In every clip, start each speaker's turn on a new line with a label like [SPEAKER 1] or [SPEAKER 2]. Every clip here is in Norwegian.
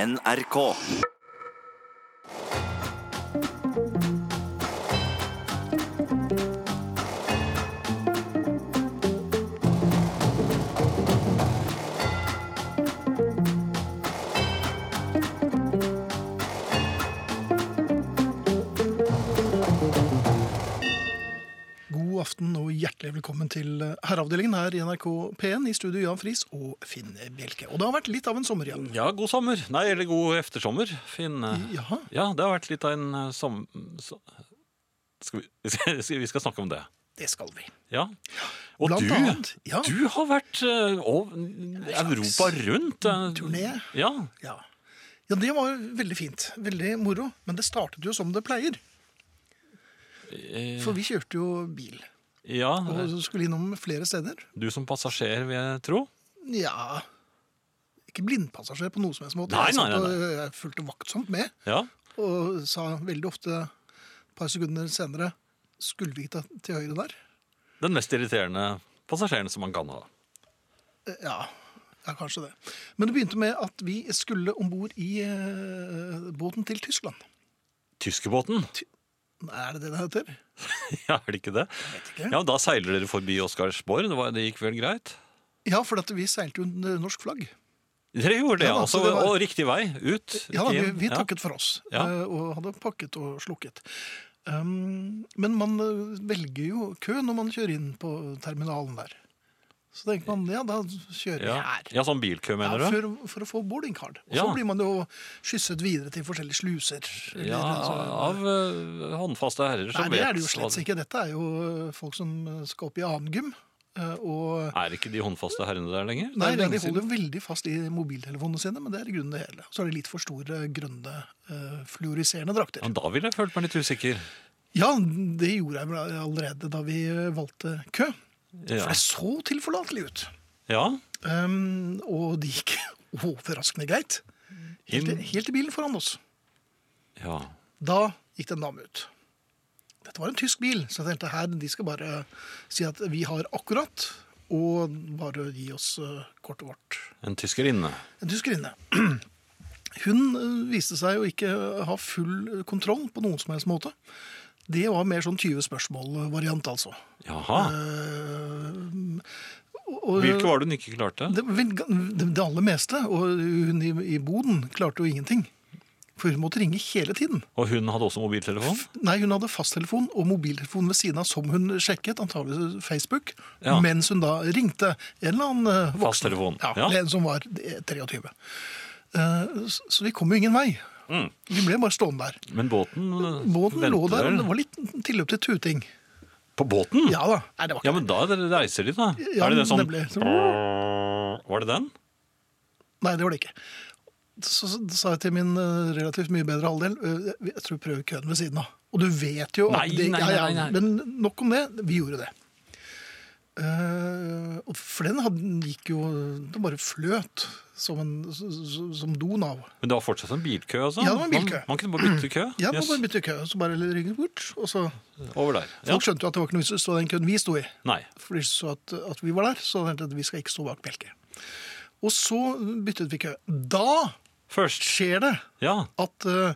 [SPEAKER 1] NRK.
[SPEAKER 2] God aften og hjertelig velkommen til eh, Herreavdelingen her i NRK P1. I studio Jan Friis og Finn Bjelke. Og det har vært litt av en sommer igjen.
[SPEAKER 3] Ja, god sommer. Nei, eller god eftersommer, Finn.
[SPEAKER 2] Jaha.
[SPEAKER 3] Ja, det har vært litt av en eh, som... så- Skal vi, skal vi- vi skal snakke om det.
[SPEAKER 2] Det skal vi.
[SPEAKER 3] Ja. Og
[SPEAKER 2] Blant
[SPEAKER 3] du,
[SPEAKER 2] annet, ja.
[SPEAKER 3] du har vært eh, og, Europa rundt. eh,
[SPEAKER 2] turné.
[SPEAKER 3] Ja,
[SPEAKER 2] Ja. ja, det var veldig fint. Veldig moro. Men det startet jo som det pleier.
[SPEAKER 3] eh,
[SPEAKER 2] For vi kjørte jo bil
[SPEAKER 3] ja.
[SPEAKER 2] og skulle innom flere steder.
[SPEAKER 3] Du som passasjer, vil jeg tro.
[SPEAKER 2] Ja Ikke blindpassasjer på noen som helst måte.
[SPEAKER 3] Nei,
[SPEAKER 2] Jeg
[SPEAKER 3] nei, nei,
[SPEAKER 2] satt og- Jeg fulgte vaktsomt med
[SPEAKER 3] Ja.
[SPEAKER 2] og sa veldig ofte et par sekunder senere skulle vi ikke ta til høyre der?
[SPEAKER 3] Den mest irriterende passasjeren som man kan ha.
[SPEAKER 2] Eh, Ja, ja kanskje det. Men det begynte med at vi skulle om bord i eh, båten til Tyskland.
[SPEAKER 3] Tyskebåten,
[SPEAKER 2] Er det det det heter?
[SPEAKER 3] ja, er det ikke det?
[SPEAKER 2] Vet ikke.
[SPEAKER 3] Ja, men da seiler dere forbi Oscarsborg, det, var, det gikk vel greit?
[SPEAKER 2] Ja, for at vi seilte jo under norsk flagg.
[SPEAKER 3] Dere gjorde det,
[SPEAKER 2] Ja, da,
[SPEAKER 3] altså,
[SPEAKER 2] så det var-
[SPEAKER 3] og riktig vei, ut.
[SPEAKER 2] Ja, da,
[SPEAKER 3] ikke
[SPEAKER 2] vi,
[SPEAKER 3] inn.
[SPEAKER 2] vi
[SPEAKER 3] Ja.
[SPEAKER 2] takket for oss
[SPEAKER 3] Ja.
[SPEAKER 2] eh, og hadde pakket og slukket. Um, men man eh, velger jo kø når man kjører inn på terminalen der. Så tenker man ja, da kjører vi
[SPEAKER 3] Ja.
[SPEAKER 2] her.
[SPEAKER 3] ja, sånn bilkø, mener
[SPEAKER 2] Ja,
[SPEAKER 3] du?
[SPEAKER 2] for, for å få boarding card. Og så
[SPEAKER 3] Ja.
[SPEAKER 2] blir man jo skysset videre til forskjellige sluser. eller,
[SPEAKER 3] Ja,
[SPEAKER 2] altså,
[SPEAKER 3] av eh, håndfaste herrer som
[SPEAKER 2] Nei, det
[SPEAKER 3] vet
[SPEAKER 2] er det jo
[SPEAKER 3] hva
[SPEAKER 2] slett ikke. Dette er jo eh, folk som eh, skal opp i annen gym. eh, Og
[SPEAKER 3] Er ikke de håndfaste herrene der lenger?
[SPEAKER 2] Nei,
[SPEAKER 3] Det er
[SPEAKER 2] de
[SPEAKER 3] lenge
[SPEAKER 2] holder jo veldig fast i mobiltelefonene sine, men det er i grunnen det hele. Så er det litt for store grønne eh, fluoriserende
[SPEAKER 3] siden.
[SPEAKER 2] drakter.
[SPEAKER 3] Ja, da ville jeg følt meg litt usikker.
[SPEAKER 2] Ja, det gjorde jeg vel allerede da vi eh, valgte kø. For
[SPEAKER 3] Ja.
[SPEAKER 2] det så tilforlatelig ut.
[SPEAKER 3] ja.
[SPEAKER 2] Ehm, og det gikk overraskende greit. Helt,
[SPEAKER 3] Inn-
[SPEAKER 2] i- helt i bilen foran oss.
[SPEAKER 3] ja.
[SPEAKER 2] Da gikk det en dame ut. Dette var en tysk bil, så jeg tenkte her, de skal bare si at vi har akkurat, og bare gi oss eh, kortet vårt.
[SPEAKER 3] En tyskerinne.
[SPEAKER 2] En tyskerinne. Hun eh, viste seg å ikke ha full kontroll på noen som helst måte. Det var mer sånn 20 spørsmål-variant, altså.
[SPEAKER 3] Jaha.
[SPEAKER 2] Eh, og- og-
[SPEAKER 3] Hvilke var det hun ikke klarte?
[SPEAKER 2] det, vel, det, det aller meste. Og hun i, i boden klarte jo ingenting. For hun måtte ringe hele tiden.
[SPEAKER 3] Og hun hadde også mobiltelefon?
[SPEAKER 2] Nei, hun hadde fasttelefon og mobiltelefon ved siden av som hun sjekket, antagelig Facebook,
[SPEAKER 3] Ja.
[SPEAKER 2] mens hun da ringte en eller annen eh, voksen.
[SPEAKER 3] Fasttelefon,
[SPEAKER 2] Ja,
[SPEAKER 3] ja.
[SPEAKER 2] eller En som var eh, 23. Eh, s- Så vi kom jo ingen vei. Vi ble bare stående der.
[SPEAKER 3] Men båten eh,
[SPEAKER 2] Båten lå
[SPEAKER 3] Mm. venter
[SPEAKER 2] der, og
[SPEAKER 3] vel?
[SPEAKER 2] det var litt tilløp til tuting.
[SPEAKER 3] På båten?
[SPEAKER 2] Ja da. Nei, det var
[SPEAKER 3] Ja,
[SPEAKER 2] ikke
[SPEAKER 3] men da reiser de, da.
[SPEAKER 2] Ja,
[SPEAKER 3] er det den sånn
[SPEAKER 2] nemlig.
[SPEAKER 3] Var det den?
[SPEAKER 2] Nei, det var det ikke. Så så sa jeg til min eh, relativt mye bedre halvdel eh, jeg tror vi prøver køen ved siden av. Og du vet jo
[SPEAKER 3] Nei,
[SPEAKER 2] at det,
[SPEAKER 3] nei,
[SPEAKER 2] ja, ja,
[SPEAKER 3] nei, nei.
[SPEAKER 2] Men nok om det. Vi gjorde det. Eh, og for den hadde, den gikk jo Det bare fløt som, en, s- s- som don av.
[SPEAKER 3] Men det var fortsatt en bilkø? Altså.
[SPEAKER 2] Ja, det var en bilkø.
[SPEAKER 3] Man, man kunne bare bytte kø?
[SPEAKER 2] Ja,
[SPEAKER 3] Jøss,
[SPEAKER 2] yes. bare bytte kø, så bare ryggen bort. Og så,
[SPEAKER 3] Over der. Ja.
[SPEAKER 2] Folk skjønte jo at det var ikke noe vits i å stå i den køen vi sto i.
[SPEAKER 3] Nei.
[SPEAKER 2] For de så at, at vi var der, så tenkte jeg at vi skal ikke stå bak Bjelke. Og så byttet vi kø. Da
[SPEAKER 3] Først.
[SPEAKER 2] skjer det
[SPEAKER 3] Ja.
[SPEAKER 2] at eh,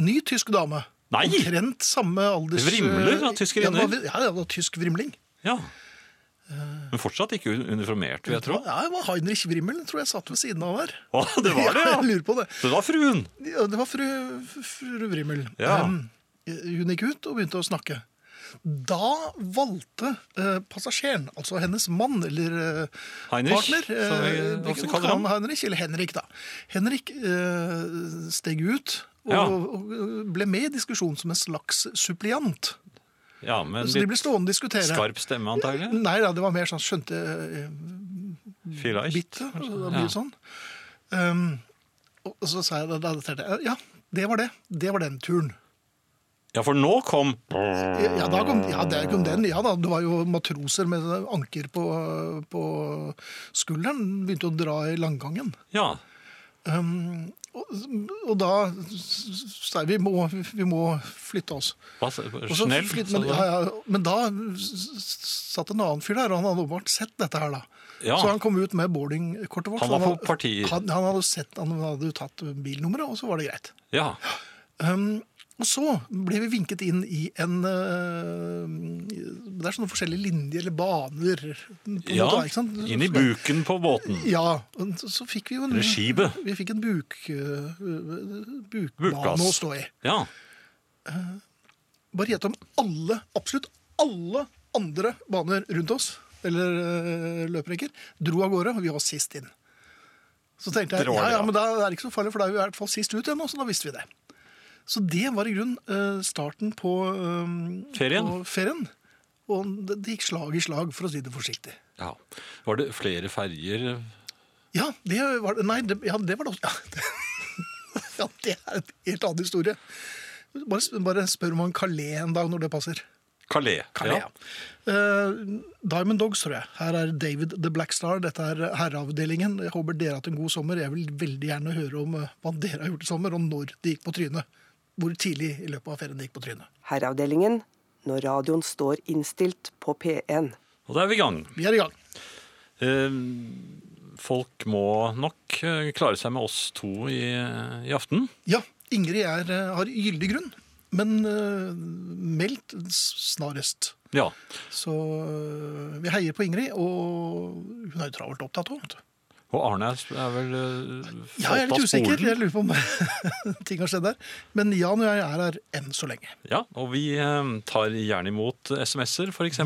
[SPEAKER 2] ny tysk dame
[SPEAKER 3] Nei!
[SPEAKER 2] Omtrent samme alders
[SPEAKER 3] Vrimler av
[SPEAKER 2] eh,
[SPEAKER 3] tyskerinner.
[SPEAKER 2] Ja, det var- ja, det var tysk vrimling.
[SPEAKER 3] Ja. Men fortsatt ikke un- uniformert, vil jeg tro.
[SPEAKER 2] Ja, det var Heinrich Vrimmel tror jeg satt ved siden av der.
[SPEAKER 3] Å, det var det,
[SPEAKER 2] jeg
[SPEAKER 3] ja!
[SPEAKER 2] lurer på det.
[SPEAKER 3] Så det var fruen!
[SPEAKER 2] Ja, det var fru, fru Vrimmel.
[SPEAKER 3] Ja.
[SPEAKER 2] Um, hun gikk ut og begynte å snakke. Da valgte eh, passasjeren, altså hennes mann eller eh,
[SPEAKER 3] Heinrich,
[SPEAKER 2] partner
[SPEAKER 3] som vi
[SPEAKER 2] eh,
[SPEAKER 3] ofte
[SPEAKER 2] ikke-
[SPEAKER 3] kaller ham.
[SPEAKER 2] han Heinrich, eller Henrik, da. Henrik eh, steg ut og,
[SPEAKER 3] Ja.
[SPEAKER 2] og ble med i diskusjonen som en slags suppliant.
[SPEAKER 3] Ja, men
[SPEAKER 2] Så de
[SPEAKER 3] litt
[SPEAKER 2] ble stående og diskutere.
[SPEAKER 3] skarp stemme, antagelig.
[SPEAKER 2] Nei da, det var mer sånn skjønte eh,
[SPEAKER 3] Vielleicht.
[SPEAKER 2] bitt. Det blir sånn. Um, og og så sa jeg da, da tenkte jeg, ja, det var det. Det var den turen.
[SPEAKER 3] Ja, for nå kom
[SPEAKER 2] Ja, da kom, ja, der kom den. Ja da, det var jo matroser med anker på, på skulderen. Begynte å dra i langgangen.
[SPEAKER 3] Ja.
[SPEAKER 2] Um, og, og da sa jeg vi må, vi må flytte oss.
[SPEAKER 3] Hva, s-
[SPEAKER 2] Og så
[SPEAKER 3] Snell?
[SPEAKER 2] flytt-
[SPEAKER 3] sa
[SPEAKER 2] men,
[SPEAKER 3] du?
[SPEAKER 2] ja, ja, men da s- s- satt en annen fyr der, og han hadde åpenbart sett dette her, da.
[SPEAKER 3] Ja.
[SPEAKER 2] Så han kom ut med boardingkortet vårt.
[SPEAKER 3] Han
[SPEAKER 2] så
[SPEAKER 3] var
[SPEAKER 2] had-
[SPEAKER 3] på partiet.
[SPEAKER 2] Han, han hadde sett, han hadde jo tatt bilnummeret, og så var det greit.
[SPEAKER 3] ja.
[SPEAKER 2] Um, og så ble vi vinket inn i en eh, Det er sånne forskjellige linjer eller baner. På en
[SPEAKER 3] ja.
[SPEAKER 2] måte, ikke sant?
[SPEAKER 3] Inn i buken på båten.
[SPEAKER 2] Ja, og så- så fikk vi jo en,
[SPEAKER 3] Eller skibet.
[SPEAKER 2] Vi fikk en buk, øh, øh, bukbane
[SPEAKER 3] Bukplass.
[SPEAKER 2] å stå i.
[SPEAKER 3] Ja.
[SPEAKER 2] Bare gjett om alle, absolutt alle andre baner rundt oss, eller øh, løperekker, dro av gårde, og vi var sist inn. Så tenkte jeg
[SPEAKER 3] Dere
[SPEAKER 2] ja,
[SPEAKER 3] var det,
[SPEAKER 2] ja,
[SPEAKER 3] ja.
[SPEAKER 2] men da er det ikke så farlig, for da er vi i hvert fall sist ut ennå, så da visste vi det. Så det var i grunn øh, starten på, øh,
[SPEAKER 3] Ferien.
[SPEAKER 2] på ferien. Og det, det gikk slag i slag, for å si det forsiktig.
[SPEAKER 3] ja. Var det flere ferger?
[SPEAKER 2] Ja, det var det. Nei, det, ja, det var det også. Ja, det, ja, det er en helt annen historie. Bare, bare spør om han Calais en dag når det passer.
[SPEAKER 3] Calais.
[SPEAKER 2] Calais, ja. Eh, Diamond Dogs, tror jeg. Her er David the Black Star. Dette er herreavdelingen. Jeg håper dere har hatt en god sommer. Jeg vil veldig gjerne høre om eh, hva dere har gjort i sommer, og når det gikk på trynet. Hvor tidlig i løpet av ferien det gikk på trynet.
[SPEAKER 1] Herreavdelingen når radioen står innstilt på P1.
[SPEAKER 3] Og da er vi i gang.
[SPEAKER 2] Vi er i gang.
[SPEAKER 3] Eh, Folk må nok eh, klare seg med oss to i, eh, i aften.
[SPEAKER 2] Ja, Ingrid er, eh, har gyldig grunn, men eh, meldt s- snarest.
[SPEAKER 3] Ja.
[SPEAKER 2] Så øh, vi heier på Ingrid, og hun er jo travelt opptatt òg.
[SPEAKER 3] Og Arne er sp- er vel eh,
[SPEAKER 2] Ja, jeg er
[SPEAKER 3] falt
[SPEAKER 2] litt
[SPEAKER 3] av
[SPEAKER 2] usikker.
[SPEAKER 3] spolen.
[SPEAKER 2] Jeg lurer på om ting har skjedd der. Men Jan og jeg er her enn så lenge.
[SPEAKER 3] Ja, og vi eh, tar gjerne imot SMS-er, f.eks.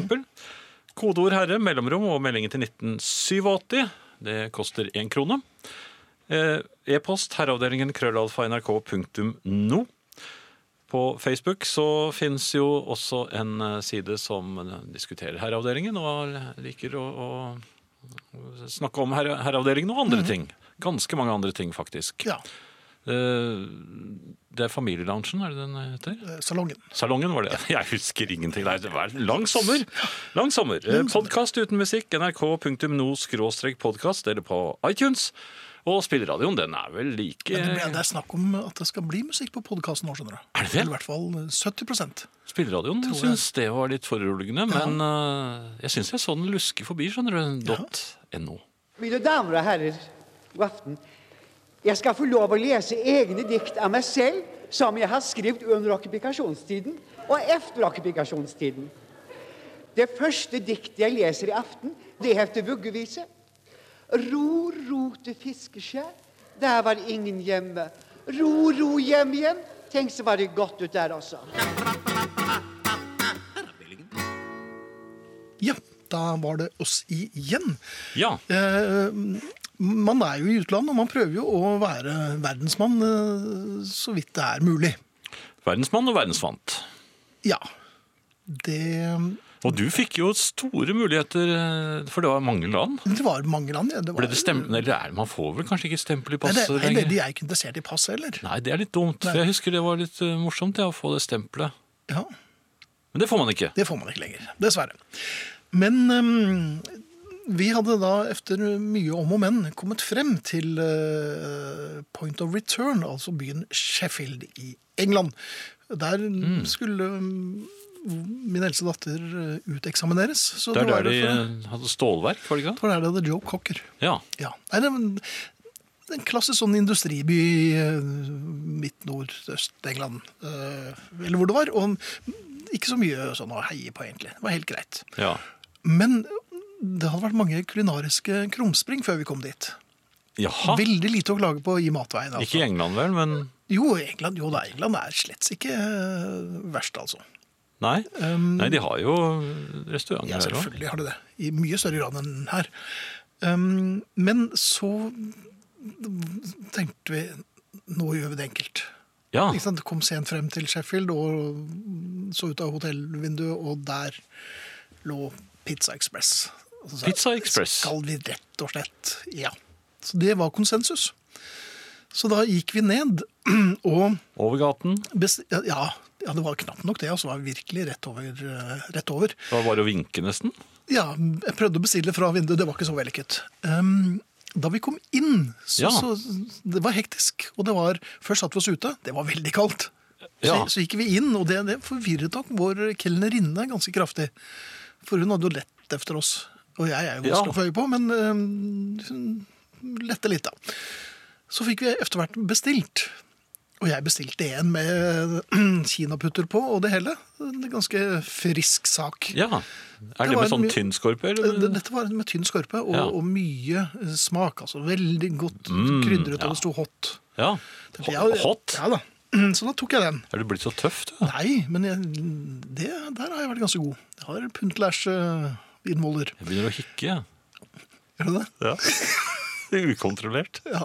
[SPEAKER 3] Kodeord herre, mellomrom og meldingen til 1987. Det koster én krone. Eh, E-post herreavdelingen krøllalfa nrk.no. På Facebook så fins jo også en eh, side som eh, diskuterer herreavdelingen, og eh, liker å, å snakke om herre, herreavdelingen og andre ting. Ganske mange andre ting, faktisk.
[SPEAKER 2] Mhm. Ja,
[SPEAKER 3] Eh, Det er Familieloungen, er det den heter?
[SPEAKER 2] øh, Salongen.
[SPEAKER 3] Salongen var det. Jeg husker ingenting. Nei, det var en lang sommer. Lang sommer. Podkast uten musikk, nrk.no-podkast, eller på iTunes. Og spilleradioen, den er vel like
[SPEAKER 2] Men det, ble, det er snakk om at det skal bli musikk på podkasten nå, skjønner du.
[SPEAKER 3] eh, Er det det?
[SPEAKER 2] Eller I hvert fall øh, 70
[SPEAKER 3] Spilleradioen
[SPEAKER 2] Tror jeg.
[SPEAKER 3] syns det var litt foruroligende, men eh, jeg syns jeg så den luske forbi, skjønner du. .no.
[SPEAKER 4] Mine damer og herrer, god aften. Jeg skal få lov å lese egne dikt av meg selv, som jeg har skrevet under okkupasjonstiden og efter okkupasjonstiden. Det første diktet jeg leser i aften, det heter Vuggevise. Ro, ro til fiskeskjær, der var ingen hjemme. Ro, ro hjem igjen, tenk så var det godt ut der også.
[SPEAKER 2] Ja, da var det oss igjen.
[SPEAKER 3] Ja.
[SPEAKER 2] Eh, man er jo i utlandet, og man prøver jo å være verdensmann øh, så vidt det er mulig.
[SPEAKER 3] Verdensmann og verdensvant.
[SPEAKER 2] Ja. Det
[SPEAKER 3] Og du fikk jo store muligheter, eh, for det var mange land.
[SPEAKER 2] Det var mange land. Ja. Det var,
[SPEAKER 3] Ble det stempel Eller er, man får vel kanskje ikke stempel i
[SPEAKER 2] Nei, det,
[SPEAKER 3] passet
[SPEAKER 2] nei, det,
[SPEAKER 3] lenger?
[SPEAKER 2] de er ikke interessert i pass heller.
[SPEAKER 3] Nei, det er litt dumt. For
[SPEAKER 2] Nei.
[SPEAKER 3] jeg husker det var litt eh, morsomt ja, å få det stempelet.
[SPEAKER 2] Ja,
[SPEAKER 3] Men det får man ikke.
[SPEAKER 2] det får man ikke lenger, dessverre. Men ehm, vi hadde da efter mye om og men kommet frem til eh, point of return, altså byen Sheffield i England. Der skulle mm, min eldste datter eh, uteksamineres. Så
[SPEAKER 3] Det er der
[SPEAKER 2] var
[SPEAKER 3] de
[SPEAKER 2] jo for-
[SPEAKER 3] eh, hadde stålverk, var det ikke det?
[SPEAKER 2] det var der de hadde Joe Cocker.
[SPEAKER 3] Ja.
[SPEAKER 2] Ja. Nei, det, men, det er en klassisk sånn industriby i eh, midt-nordøst-England. eh, eller hvor det var. Og ikke så mye sånn å heie på, egentlig. Det var helt greit.
[SPEAKER 3] ja.
[SPEAKER 2] Men det hadde vært mange kulinariske krumspring før vi kom dit.
[SPEAKER 3] Jaha.
[SPEAKER 2] Veldig lite å klage på i matveien.
[SPEAKER 3] Ikke
[SPEAKER 2] Altså.
[SPEAKER 3] i England vel, men
[SPEAKER 2] Jo, England, jo da, England er slett ikke eh, verst, altså.
[SPEAKER 3] Nei, Nei de har jo restauranter
[SPEAKER 2] Um, Ja,
[SPEAKER 3] her òg.
[SPEAKER 2] selvfølgelig har det det. I mye større grad enn her. Um, men så tenkte vi nå gjør vi det enkelt.
[SPEAKER 3] Ja.
[SPEAKER 2] Ikke sant? Kom sent frem til Sheffield og så ut av hotellvinduet, og der lå Pizza Express. Og så sa jeg,
[SPEAKER 3] Pizza Express.
[SPEAKER 2] Skal vi rett og slett Ja. Så det var konsensus. Så da gikk vi ned, og
[SPEAKER 3] Over gaten.
[SPEAKER 2] best, ja, ja, det var knapt nok det. Altså, det var virkelig rett over. eh, Rett over.
[SPEAKER 3] Det var bare å vinke, nesten.
[SPEAKER 2] Ja, jeg prøvde å bestille fra vinduet, det var ikke så vellykket. Um, da vi kom inn, så,
[SPEAKER 3] Ja.
[SPEAKER 2] så det var hektisk. Og det var, først satt vi oss ute, det var veldig kaldt. Så,
[SPEAKER 3] Ja.
[SPEAKER 2] så gikk vi inn, og det, det forvirret nok vår kelnerinne ganske kraftig. For hun hadde jo lett efter oss. Og jeg er jo
[SPEAKER 3] Ja.
[SPEAKER 2] vanskelig å få øye på, men øhm, hun lette litt, da. Så fikk vi etter hvert bestilt. Og jeg bestilte en med kinaputter på og det hele. En ganske frisk sak.
[SPEAKER 3] Ja. Er det,
[SPEAKER 2] var
[SPEAKER 3] med sånn
[SPEAKER 2] mye-
[SPEAKER 3] tynn skorpe? eller?
[SPEAKER 2] Det- Eh, Dette var med tynn skorpe og,
[SPEAKER 3] Mm. Ja.
[SPEAKER 2] og mye eh, smak. altså Veldig godt krydret, og det sto hot.
[SPEAKER 3] Ja.
[SPEAKER 2] Tenkte jeg,
[SPEAKER 3] Hot?
[SPEAKER 2] Ja da. Så da tok jeg den.
[SPEAKER 3] Er du blitt så tøff, du?
[SPEAKER 2] Nei, men jeg, det, der har jeg vært ganske god. Jeg har puntlæsj-innvoller.
[SPEAKER 3] Jeg begynner å hikke.
[SPEAKER 2] Gjør du det?
[SPEAKER 3] Ja. Ukontrollert.
[SPEAKER 2] Ja.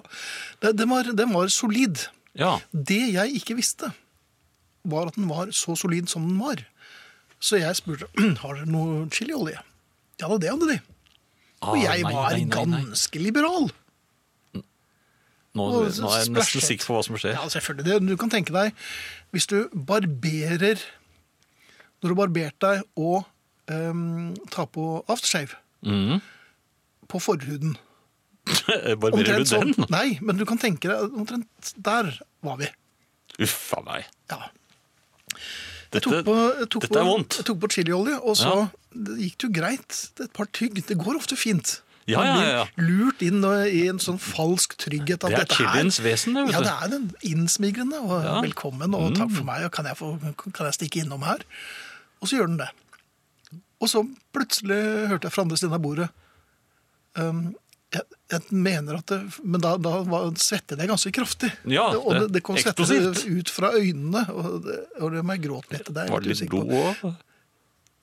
[SPEAKER 2] Det- Den var, den var solid.
[SPEAKER 3] Ja.
[SPEAKER 2] Det jeg ikke visste, var at den var så solid som den var. Så jeg spurte har dere noe chiliolje. Ja da, det hadde de. Og
[SPEAKER 3] Ah,
[SPEAKER 2] jeg
[SPEAKER 3] nei,
[SPEAKER 2] var
[SPEAKER 3] nei, nei, nei.
[SPEAKER 2] ganske liberal.
[SPEAKER 3] Nå,
[SPEAKER 2] Og
[SPEAKER 3] nå er jeg
[SPEAKER 2] splashet.
[SPEAKER 3] nesten sikker på hva som skjer.
[SPEAKER 2] Ja, selvfølgelig. Det, du kan tenke deg, hvis du barberer Når du har barbert deg og ehm, tar på aftershave
[SPEAKER 3] Mm.
[SPEAKER 2] på forhuden
[SPEAKER 3] Eh,
[SPEAKER 2] sånn.
[SPEAKER 3] Barberer du den?
[SPEAKER 2] Nei, men du kan tenke deg omtrent Der var vi.
[SPEAKER 3] Uff a meg.
[SPEAKER 2] Ja. Jeg
[SPEAKER 3] Dette,
[SPEAKER 2] tok på, jeg tok
[SPEAKER 3] dette er
[SPEAKER 2] på,
[SPEAKER 3] vondt.
[SPEAKER 2] Jeg tok på chiliolje, og så det gikk det jo greit. Et par tygg. Det går ofte fint.
[SPEAKER 3] Ja,
[SPEAKER 2] Man
[SPEAKER 3] ja,
[SPEAKER 2] blir
[SPEAKER 3] ja, ja.
[SPEAKER 2] Lurt inn eh, i en sånn falsk trygghet. At
[SPEAKER 3] Det er
[SPEAKER 2] dette her-
[SPEAKER 3] chiliens vesen, det, vet
[SPEAKER 2] Ja,
[SPEAKER 3] du.
[SPEAKER 2] det er den innsmigrende. Og
[SPEAKER 3] Ja. Mm.
[SPEAKER 2] velkommen, og takk for meg, og kan jeg, få, kan jeg stikke innom her? Og så gjør den det. Og så plutselig hørte jeg fra andre siden av bordet ehm, jeg, jeg mener at det, Men da, da var, svettet jeg ganske kraftig.
[SPEAKER 3] Ja,
[SPEAKER 2] det, og det, det kom svette
[SPEAKER 3] eksplosivt.
[SPEAKER 2] ut fra øynene, og det, og det må jeg gråte litt. Det er jeg
[SPEAKER 3] Var det
[SPEAKER 2] litt
[SPEAKER 3] litt
[SPEAKER 2] usikker på. Eh,
[SPEAKER 3] blod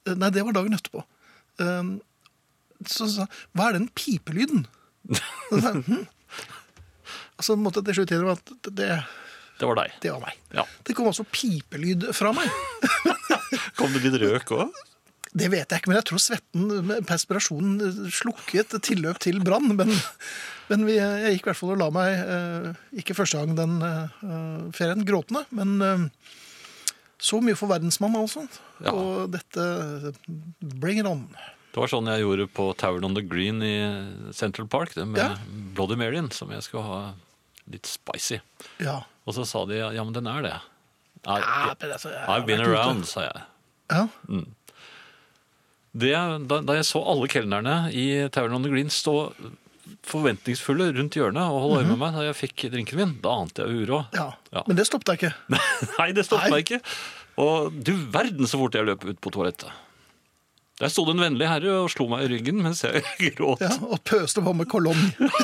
[SPEAKER 3] òg?
[SPEAKER 2] Nei, det var dagen etterpå. Ehm, Så sa han, hva er den pipelyden? Så sa jeg, hm? Og så måtte jeg til slutt innrømme at det,
[SPEAKER 3] Det var deg.
[SPEAKER 2] det var meg.
[SPEAKER 3] Ja.
[SPEAKER 2] Det kom altså pipelyd fra meg.
[SPEAKER 3] Kom det litt røk òg?
[SPEAKER 2] Det vet jeg ikke, men jeg tror svetten, med perspirasjonen, slukket tilløp til brann. Men, men vi, jeg gikk i hvert fall og la meg, eh, ikke første gang den eh, ferien, gråtende, men eh, så mye for verdensmann, altså.
[SPEAKER 3] Ja.
[SPEAKER 2] Og dette bring it on.
[SPEAKER 3] Det var sånn jeg gjorde på Tower on the Green i Central Park. Det med
[SPEAKER 2] Ja.
[SPEAKER 3] Bloody Maryan, som jeg skulle ha litt spicy.
[SPEAKER 2] Ja.
[SPEAKER 3] Og så sa de ja, men den er det. I,
[SPEAKER 2] Ja, men altså, jeg har
[SPEAKER 3] I've been
[SPEAKER 2] vært ute.
[SPEAKER 3] around, sa jeg.
[SPEAKER 2] Ja.
[SPEAKER 3] Det, da, da jeg så alle kelnerne i Tower on the Green stå forventningsfulle rundt hjørnet og holde øye med meg da jeg fikk drinken min, da ante jeg uråd.
[SPEAKER 2] ja.
[SPEAKER 3] Mhm. Ja.
[SPEAKER 2] Men det stoppet jeg ikke.
[SPEAKER 3] Nei, det stoppet
[SPEAKER 2] Nei.
[SPEAKER 3] meg ikke. Og du verden så fort jeg løp ut på toalettet. Der sto det en vennlig herre og slo meg i ryggen mens jeg gråt.
[SPEAKER 2] Ja, og pøste på med kolong.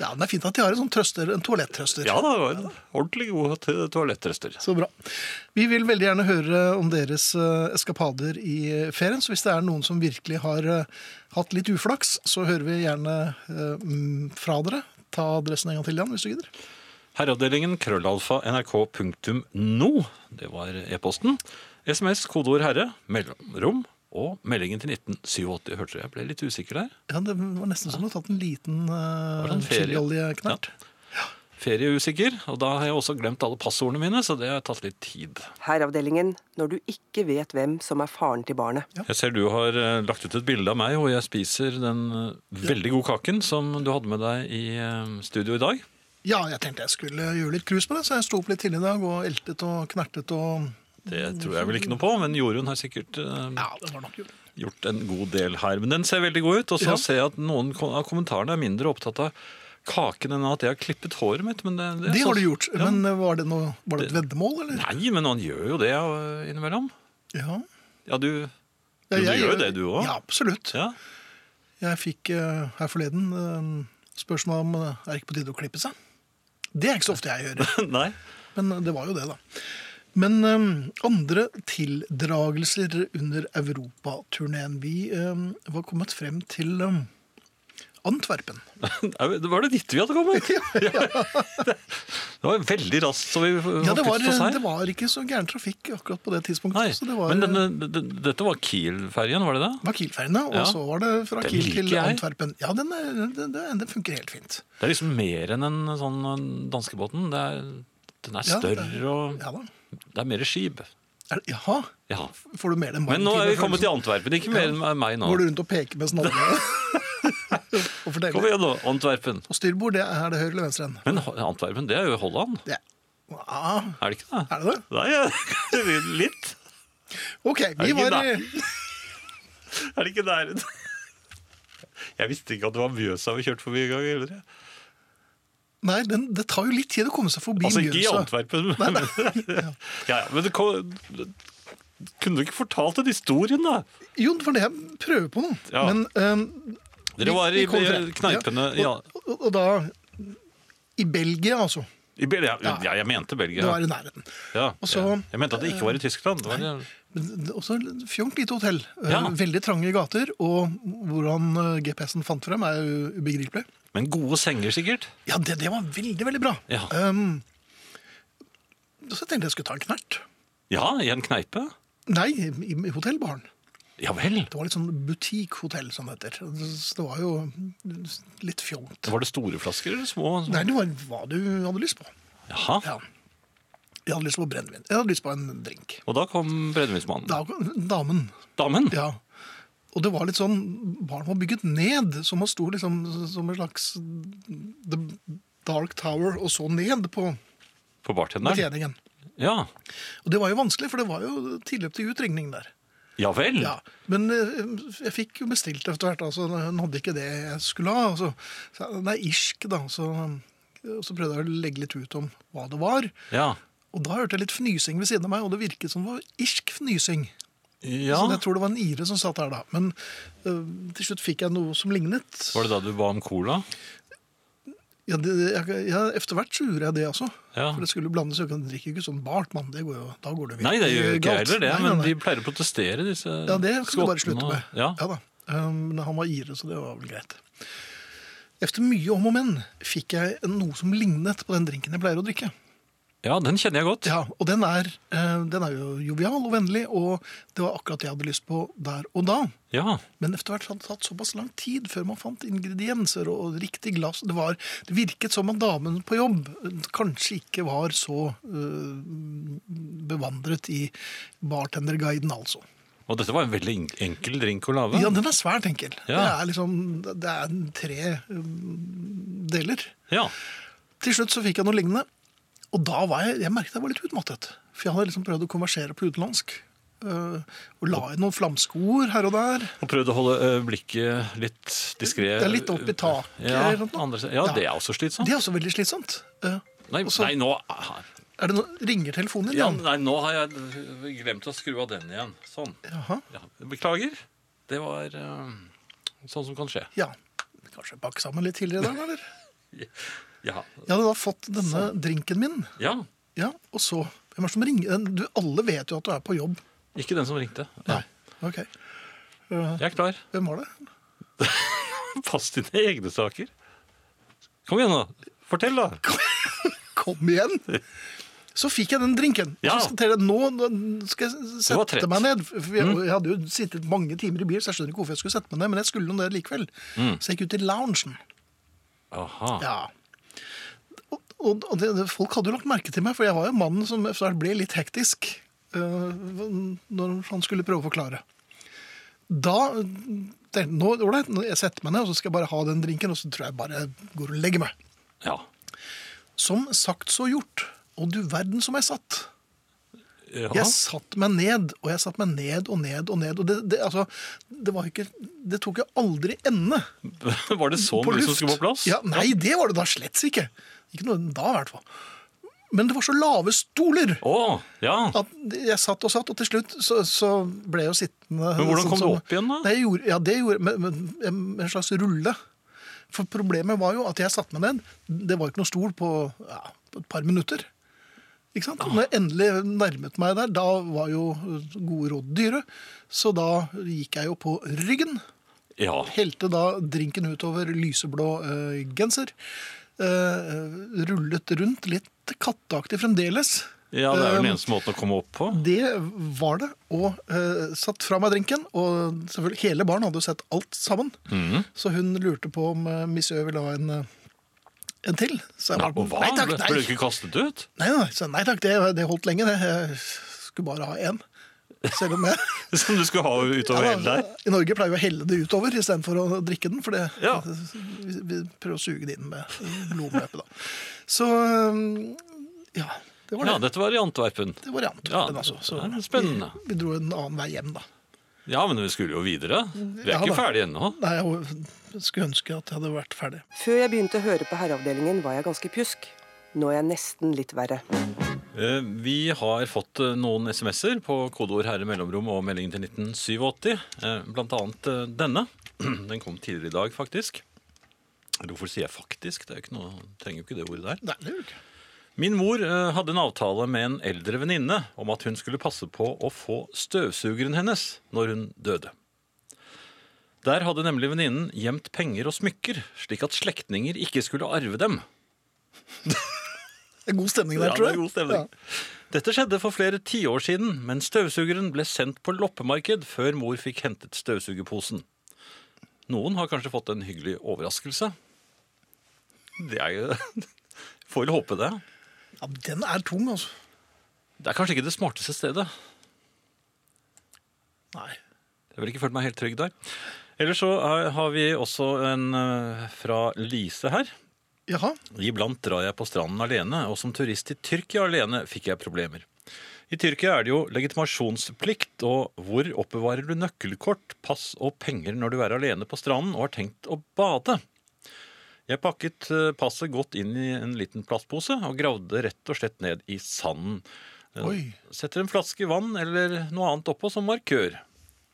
[SPEAKER 2] ja, men det er fint at de har en sånn trøster, en toalettrøster.
[SPEAKER 3] Ja da, det var en ordentlig god to- toalettrester.
[SPEAKER 2] Så bra. Vi vil veldig gjerne høre om deres eh, eskapader i eh, ferien, så hvis det er noen som virkelig har eh, hatt litt uflaks, så hører vi gjerne eh, mm, fra dere. Ta adressen en gang til, Jan, hvis du gidder.
[SPEAKER 3] Herreavdelingen krøllalfa nrk.no. Det var e-posten. SMS, kodeord herre, mellomrom og meldingen til 1987. Hørte dere jeg ble litt usikker der?
[SPEAKER 2] Ja, det var nesten som du har tatt en liten
[SPEAKER 3] Det var en
[SPEAKER 2] uh,
[SPEAKER 3] ferie.
[SPEAKER 2] chilioljeknert.
[SPEAKER 3] Ferieusikker. Og da har jeg også glemt alle passordene mine, så det har tatt litt tid.
[SPEAKER 1] Herreavdelingen når du ikke vet hvem som er faren til barnet.
[SPEAKER 3] Jeg ser du har eh, lagt ut et bilde av meg, og jeg spiser den eh, veldig gode kaken som du hadde med deg i eh, studio i dag.
[SPEAKER 2] Ja, jeg tenkte jeg skulle gjøre litt krus på det, så jeg sto opp litt tidlig i dag og eltet og knertet og
[SPEAKER 3] Det tror jeg vel ikke noe på, men Jorunn har sikkert eh,
[SPEAKER 2] Ja, det var nok gjort.
[SPEAKER 3] gjort en god del her. Men den ser veldig god ut, og så
[SPEAKER 2] Ja.
[SPEAKER 3] ser jeg at noen ko- av kommentarene er mindre opptatt av kaken enn at jeg har klippet håret mitt. Men det,
[SPEAKER 2] Det har du gjort,
[SPEAKER 3] Ja.
[SPEAKER 2] men eh, var det, noe, var det et veddemål, eller?
[SPEAKER 3] Nei, men han gjør jo det eh, innimellom.
[SPEAKER 2] Ja.
[SPEAKER 3] Ja, du...
[SPEAKER 2] Ja,
[SPEAKER 3] Jo, du gjør jo det, du også.
[SPEAKER 2] Ja, absolutt.
[SPEAKER 3] Ja.
[SPEAKER 2] Jeg fikk eh, her forleden eh, spørsmål om eh, er det ikke på tide å klippe seg. Det er ikke så ofte jeg gjør,
[SPEAKER 3] Nei.
[SPEAKER 2] men det var jo det, da. Men eh, andre tildragelser under europaturneen Vi eh, var kommet frem til eh, Antwerpen.
[SPEAKER 3] Det var det ditt vi hadde kommet. Det var veldig raskt, så vi
[SPEAKER 2] Ja, det
[SPEAKER 3] hakket
[SPEAKER 2] var,
[SPEAKER 3] oss her.
[SPEAKER 2] det var ikke så gæren trafikk akkurat på det tidspunktet.
[SPEAKER 3] Nei,
[SPEAKER 2] så det var,
[SPEAKER 3] men eh, denne, d- dette var Kiel-ferjen, var det det?
[SPEAKER 2] det var Kiel-ferjene, og
[SPEAKER 3] Ja.
[SPEAKER 2] så var det fra
[SPEAKER 3] Den
[SPEAKER 2] Kiel til
[SPEAKER 3] liker jeg.
[SPEAKER 2] Antwerpen. Ja, den, er, den, den, den funker helt fint.
[SPEAKER 3] Det er liksom mer enn en sånn danskebåten. Det er, den er
[SPEAKER 2] Ja,
[SPEAKER 3] større,
[SPEAKER 2] det-
[SPEAKER 3] og
[SPEAKER 2] Ja da.
[SPEAKER 3] det er mer skip.
[SPEAKER 2] Er, det- jaha?
[SPEAKER 3] Ja.
[SPEAKER 2] Får du mer enn
[SPEAKER 3] Men nå er vi kommet til Antwerpen. Ikke mer enn meg nå.
[SPEAKER 2] Går du rundt og peker med snadene? og
[SPEAKER 3] Kom
[SPEAKER 2] forteller.
[SPEAKER 3] igjen nå, Antwerpen.
[SPEAKER 2] Og styrbord, det er det høyre eller venstre enden?
[SPEAKER 3] Men Ho- Antwerpen, det er jo Holland.
[SPEAKER 2] Det er- Ah,
[SPEAKER 3] Er det ikke det?
[SPEAKER 2] er det det?
[SPEAKER 3] Nei, jeg- litt.
[SPEAKER 2] Ok, vi
[SPEAKER 3] det ikke
[SPEAKER 2] var
[SPEAKER 3] der? Er det ikke der? Jeg visste ikke at det var Mjøsa vi kjørte forbi en gang. heller, jeg.
[SPEAKER 2] Nei, den, det tar jo litt tid å komme seg forbi
[SPEAKER 3] Altså ikke i
[SPEAKER 2] Mjøsa.
[SPEAKER 3] Antwerpen. Men, ja, ja, men det kom, kunne du ikke fortalt en historien, da?
[SPEAKER 2] Jo, for det jeg prøver på nå.
[SPEAKER 3] Ja.
[SPEAKER 2] Men øhm,
[SPEAKER 3] Dere var
[SPEAKER 2] vi
[SPEAKER 3] i
[SPEAKER 2] kommer frem.
[SPEAKER 3] kneipene
[SPEAKER 2] Ja.
[SPEAKER 3] ja.
[SPEAKER 2] Og, og, og da I Belgia, altså.
[SPEAKER 3] I Bel- ja, ja, jeg mente Belgia.
[SPEAKER 2] Det var i nærheten.
[SPEAKER 3] Ja,
[SPEAKER 2] Og så-
[SPEAKER 3] ja. Jeg mente at det ikke var i Tyskland. Det var,
[SPEAKER 2] Men det- Også fjongt lite hotell. Eh,
[SPEAKER 3] Ja.
[SPEAKER 2] Veldig trange gater. Og hvordan eh, GPS-en fant frem, er jo ubegripelig.
[SPEAKER 3] men gode senger, sikkert.
[SPEAKER 2] Ja, det, det var veldig, veldig bra.
[SPEAKER 3] Ja.
[SPEAKER 2] Um, så jeg tenkte jeg skulle ta en knert.
[SPEAKER 3] Ja, i en kneipe.
[SPEAKER 2] Nei, i, i hotellbaren.
[SPEAKER 3] Ja vel.
[SPEAKER 2] Det var litt sånn butikkhotell, som det heter. Så det var jo litt fjongt.
[SPEAKER 3] Var det store flasker eller små?
[SPEAKER 2] Nei, det var hva du hadde lyst på.
[SPEAKER 3] Jaha.
[SPEAKER 2] Ja. Jeg hadde lyst på brennevin. Jeg hadde lyst på en drink.
[SPEAKER 3] Og da kom breddevinsmannen.
[SPEAKER 2] Da, damen
[SPEAKER 3] Damen?
[SPEAKER 2] Ja. Og det var litt sånn Barn var bygget ned, så man sto liksom som en slags The Dark Tower og så ned på
[SPEAKER 3] På bartenderen?
[SPEAKER 2] betjeningen.
[SPEAKER 3] Ja.
[SPEAKER 2] Og det var jo vanskelig, for det var jo tilløp til utringning der.
[SPEAKER 3] Ja vel.
[SPEAKER 2] Ja, Men eh, jeg fikk jo bestilt etter hvert. altså Hun hadde ikke det jeg skulle ha. Altså. Så, jeg, nei, irsk, da. Så, og så prøvde jeg å legge litt ut om hva det var.
[SPEAKER 3] Ja.
[SPEAKER 2] Og da hørte jeg litt fnysing ved siden av meg, og det virket som det var irsk fnysing.
[SPEAKER 3] ja.
[SPEAKER 2] Så jeg tror det var en ire som satt der da. Men øh, til slutt fikk jeg noe som lignet.
[SPEAKER 3] Var det da du ba om cola?
[SPEAKER 2] Ja, det, jeg, ja, Efter hvert så gjorde jeg det også.
[SPEAKER 3] Ja.
[SPEAKER 2] For det skulle blandes. Jeg kan- drikker jo ikke sånn bart, mann. Det går jo, da går det
[SPEAKER 3] Nei, det gjør jo ikke jeg
[SPEAKER 2] galt.
[SPEAKER 3] heller det,
[SPEAKER 2] Nei, nei,
[SPEAKER 3] men
[SPEAKER 2] nei.
[SPEAKER 3] de pleier å protestere, disse
[SPEAKER 2] Ja, det skal du bare
[SPEAKER 3] skottene
[SPEAKER 2] slutte
[SPEAKER 3] og-
[SPEAKER 2] med.
[SPEAKER 3] Ja.
[SPEAKER 2] da. Um, men han var ire, så det var vel greit. Efter mye om og men fikk jeg noe som lignet på den drinken jeg pleier å drikke.
[SPEAKER 3] ja, den kjenner jeg godt.
[SPEAKER 2] Ja, og den er, eh, den er jo jovial og vennlig, og det var akkurat det jeg hadde lyst på der og da.
[SPEAKER 3] Ja.
[SPEAKER 2] Men etter hvert hadde det tatt såpass lang tid før man fant ingredienser og riktig glass. Det, var, det virket som at damen på jobb eh, kanskje ikke var så øh, bevandret i bartenderguiden, altså.
[SPEAKER 3] Og dette var en veldig en- enkel drink å lage.
[SPEAKER 2] Ja, den er svært enkel. Det
[SPEAKER 3] Ja.
[SPEAKER 2] er liksom det er tre øh, deler.
[SPEAKER 3] Ja.
[SPEAKER 2] Til slutt så fikk jeg noe lignende, og da var jeg, jeg merket jeg var litt utmattet. For jeg hadde liksom prøvd å konversere på utenlandsk. øh, og la inn noen flamskoer her og der.
[SPEAKER 3] Og prøvde å holde ø, blikket litt
[SPEAKER 2] Det
[SPEAKER 3] diskré.
[SPEAKER 2] er litt opp i taket.
[SPEAKER 3] Ja,
[SPEAKER 2] eller noe.
[SPEAKER 3] andre, ja, det er også slitsomt.
[SPEAKER 2] Det er også veldig slitsomt. Eh,
[SPEAKER 3] Nei,
[SPEAKER 2] og så
[SPEAKER 3] nei, nå,
[SPEAKER 2] er det noe, ringer telefonen din,
[SPEAKER 3] ja,
[SPEAKER 2] Jan.
[SPEAKER 3] nei, nå har jeg glemt å skru av den igjen. Sånn.
[SPEAKER 2] Jaha.
[SPEAKER 3] Ja, beklager. Det var ø, sånn som kan skje.
[SPEAKER 2] Ja. Kanskje pakke sammen litt tidligere i dag, eller?
[SPEAKER 3] Ja.
[SPEAKER 2] Jeg hadde da fått denne drinken min,
[SPEAKER 3] ja.
[SPEAKER 2] ja, og så Hvem er det som ringer? Du, alle vet jo at du er på jobb.
[SPEAKER 3] Ikke den som ringte. Ja.
[SPEAKER 2] Ok.
[SPEAKER 3] Jeg er klar.
[SPEAKER 2] Hvem var det?
[SPEAKER 3] Pass dine egne saker. Kom igjen, da. Fortell, da.
[SPEAKER 2] Kom igjen! Så fikk jeg den drinken. Og
[SPEAKER 3] Ja.
[SPEAKER 2] så skal jeg, nå nå skal jeg
[SPEAKER 3] var
[SPEAKER 2] sette
[SPEAKER 3] trett. Mm.
[SPEAKER 2] meg ned. For jeg, jeg hadde jo sittet mange timer i bil, så jeg skjønner ikke hvorfor jeg skulle sette meg ned, men jeg skulle nå det likevel.
[SPEAKER 3] Mm.
[SPEAKER 2] Så jeg gikk ut i loungen.
[SPEAKER 3] Aha.
[SPEAKER 2] Ja. Og, og og det, det, folk hadde jo lagt merke til meg, for jeg var jo mannen som etter hvert ble litt hektisk eh, når han skulle prøve å forklare. Da øh, tenkte jeg, nå, ålreit, nå- jeg setter meg ned, og så skal jeg bare ha den drinken, og så tror jeg bare jeg går og legger meg.
[SPEAKER 3] Ja.
[SPEAKER 2] Som sagt så gjort. Og du verden som jeg satt.
[SPEAKER 3] ja.
[SPEAKER 2] Jeg satt meg ned, og jeg satt meg ned og ned og ned. Og det, det, altså, det, var ikke, det tok jo aldri ende.
[SPEAKER 3] Var det så mye som skulle på plass?
[SPEAKER 2] Ja, nei, det var det da slett ikke. Ikke noe da, i hvert fall. Men det var så lave stoler
[SPEAKER 3] Å, ja.
[SPEAKER 2] at jeg satt og satt, og til slutt så, så ble jeg jo sittende
[SPEAKER 3] Men hvordan
[SPEAKER 2] sånn
[SPEAKER 3] kom du
[SPEAKER 2] som-
[SPEAKER 3] opp igjen da?
[SPEAKER 2] Nei, jeg gjorde, ja, det gjorde med, med, med en slags rulle. For problemet var jo at jeg satte meg ned. Det var jo ikke noe stol på, ja, på et par minutter. Ikke sant? Når jeg endelig nærmet meg der, da var jo gode råd dyre. Så da gikk jeg jo på ryggen.
[SPEAKER 3] Ja.
[SPEAKER 2] Helte da drinken utover lyseblå eh, genser. eh, rullet rundt, litt katteaktig fremdeles.
[SPEAKER 3] ja, det er vel
[SPEAKER 2] Eh,
[SPEAKER 3] den eneste måten å komme opp på.
[SPEAKER 2] det var det, og eh, satt fra meg drinken. Og selvfølgelig, hele baren hadde jo sett alt sammen.
[SPEAKER 3] Mhm.
[SPEAKER 2] Så hun lurte på om uh, Monsieur ville ha en, eh, en til. Så jeg
[SPEAKER 3] Ja,
[SPEAKER 2] bare,
[SPEAKER 3] og hva?
[SPEAKER 2] nei takk,
[SPEAKER 3] Ble- Ble du
[SPEAKER 2] nei.
[SPEAKER 3] ikke kastet ut?
[SPEAKER 2] Nei, nei, så, nei takk, det, det holdt lenge, det. Jeg skulle bare ha én. Selv om jeg
[SPEAKER 3] Som du skulle ha utover hele
[SPEAKER 2] Ja,
[SPEAKER 3] der.
[SPEAKER 2] da, I Norge pleier vi å helle det utover istedenfor å drikke den, for det,
[SPEAKER 3] Ja.
[SPEAKER 2] vi, vi prøver å suge det inn med blodomløpet. da. Så ja, det var det.
[SPEAKER 3] Ja, dette var i Antwerpen.
[SPEAKER 2] Det var i Antwerpen,
[SPEAKER 3] Ja, det-
[SPEAKER 2] altså. Så
[SPEAKER 3] det er spennende.
[SPEAKER 2] Vi, vi dro en annen vei hjem, da.
[SPEAKER 3] Ja, men vi skulle jo videre. Vi er
[SPEAKER 2] Ja,
[SPEAKER 3] ikke
[SPEAKER 2] da.
[SPEAKER 3] ferdige ennå.
[SPEAKER 2] Nei, jeg skulle ønske at jeg hadde vært ferdig.
[SPEAKER 1] Før jeg begynte å høre på Herreavdelingen, var jeg ganske pjusk. Nå er jeg nesten litt verre.
[SPEAKER 3] Eh, Vi har fått eh, noen SMS-er på kodeord herre mellomrom og meldingen til 1987. eh, Blant annet eh, denne. Den kom tidligere i dag, faktisk. Eller Hvorfor sier jeg 'faktisk'? Det er jo ikke noe, trenger jo ikke det ordet der.
[SPEAKER 2] Nei, det gjør du ikke.
[SPEAKER 3] Min mor eh, hadde en avtale med en eldre venninne om at hun skulle passe på å få støvsugeren hennes når hun døde. Der hadde nemlig venninnen gjemt penger og smykker, slik at slektninger ikke skulle arve dem.
[SPEAKER 2] Det er god stemning der,
[SPEAKER 3] Ja,
[SPEAKER 2] tror
[SPEAKER 3] det
[SPEAKER 2] jeg.
[SPEAKER 3] er god stemning. Dette skjedde for flere tiår siden, men støvsugeren ble sendt på loppemarked før mor fikk hentet støvsugerposen. Noen har kanskje fått en hyggelig overraskelse. Det er jo Får vel håpe det.
[SPEAKER 2] Ja. ja, Den er tung, altså.
[SPEAKER 3] Det er kanskje ikke det smarteste stedet.
[SPEAKER 2] Nei.
[SPEAKER 3] Jeg vil ikke følt meg helt trygg der. Ellers så er- har vi også en eh, fra Lise her.
[SPEAKER 2] Jaha.
[SPEAKER 3] Iblant drar jeg på stranden alene, og som turist i Tyrkia alene fikk jeg problemer. I Tyrkia er det jo legitimasjonsplikt, og hvor oppbevarer du nøkkelkort, pass og penger når du er alene på stranden og har tenkt å bade? Jeg pakket eh, passet godt inn i en liten plastpose og gravde rett og slett ned i sanden. Eh,
[SPEAKER 2] Oi.
[SPEAKER 3] Setter en flaske vann eller noe annet oppå som markør.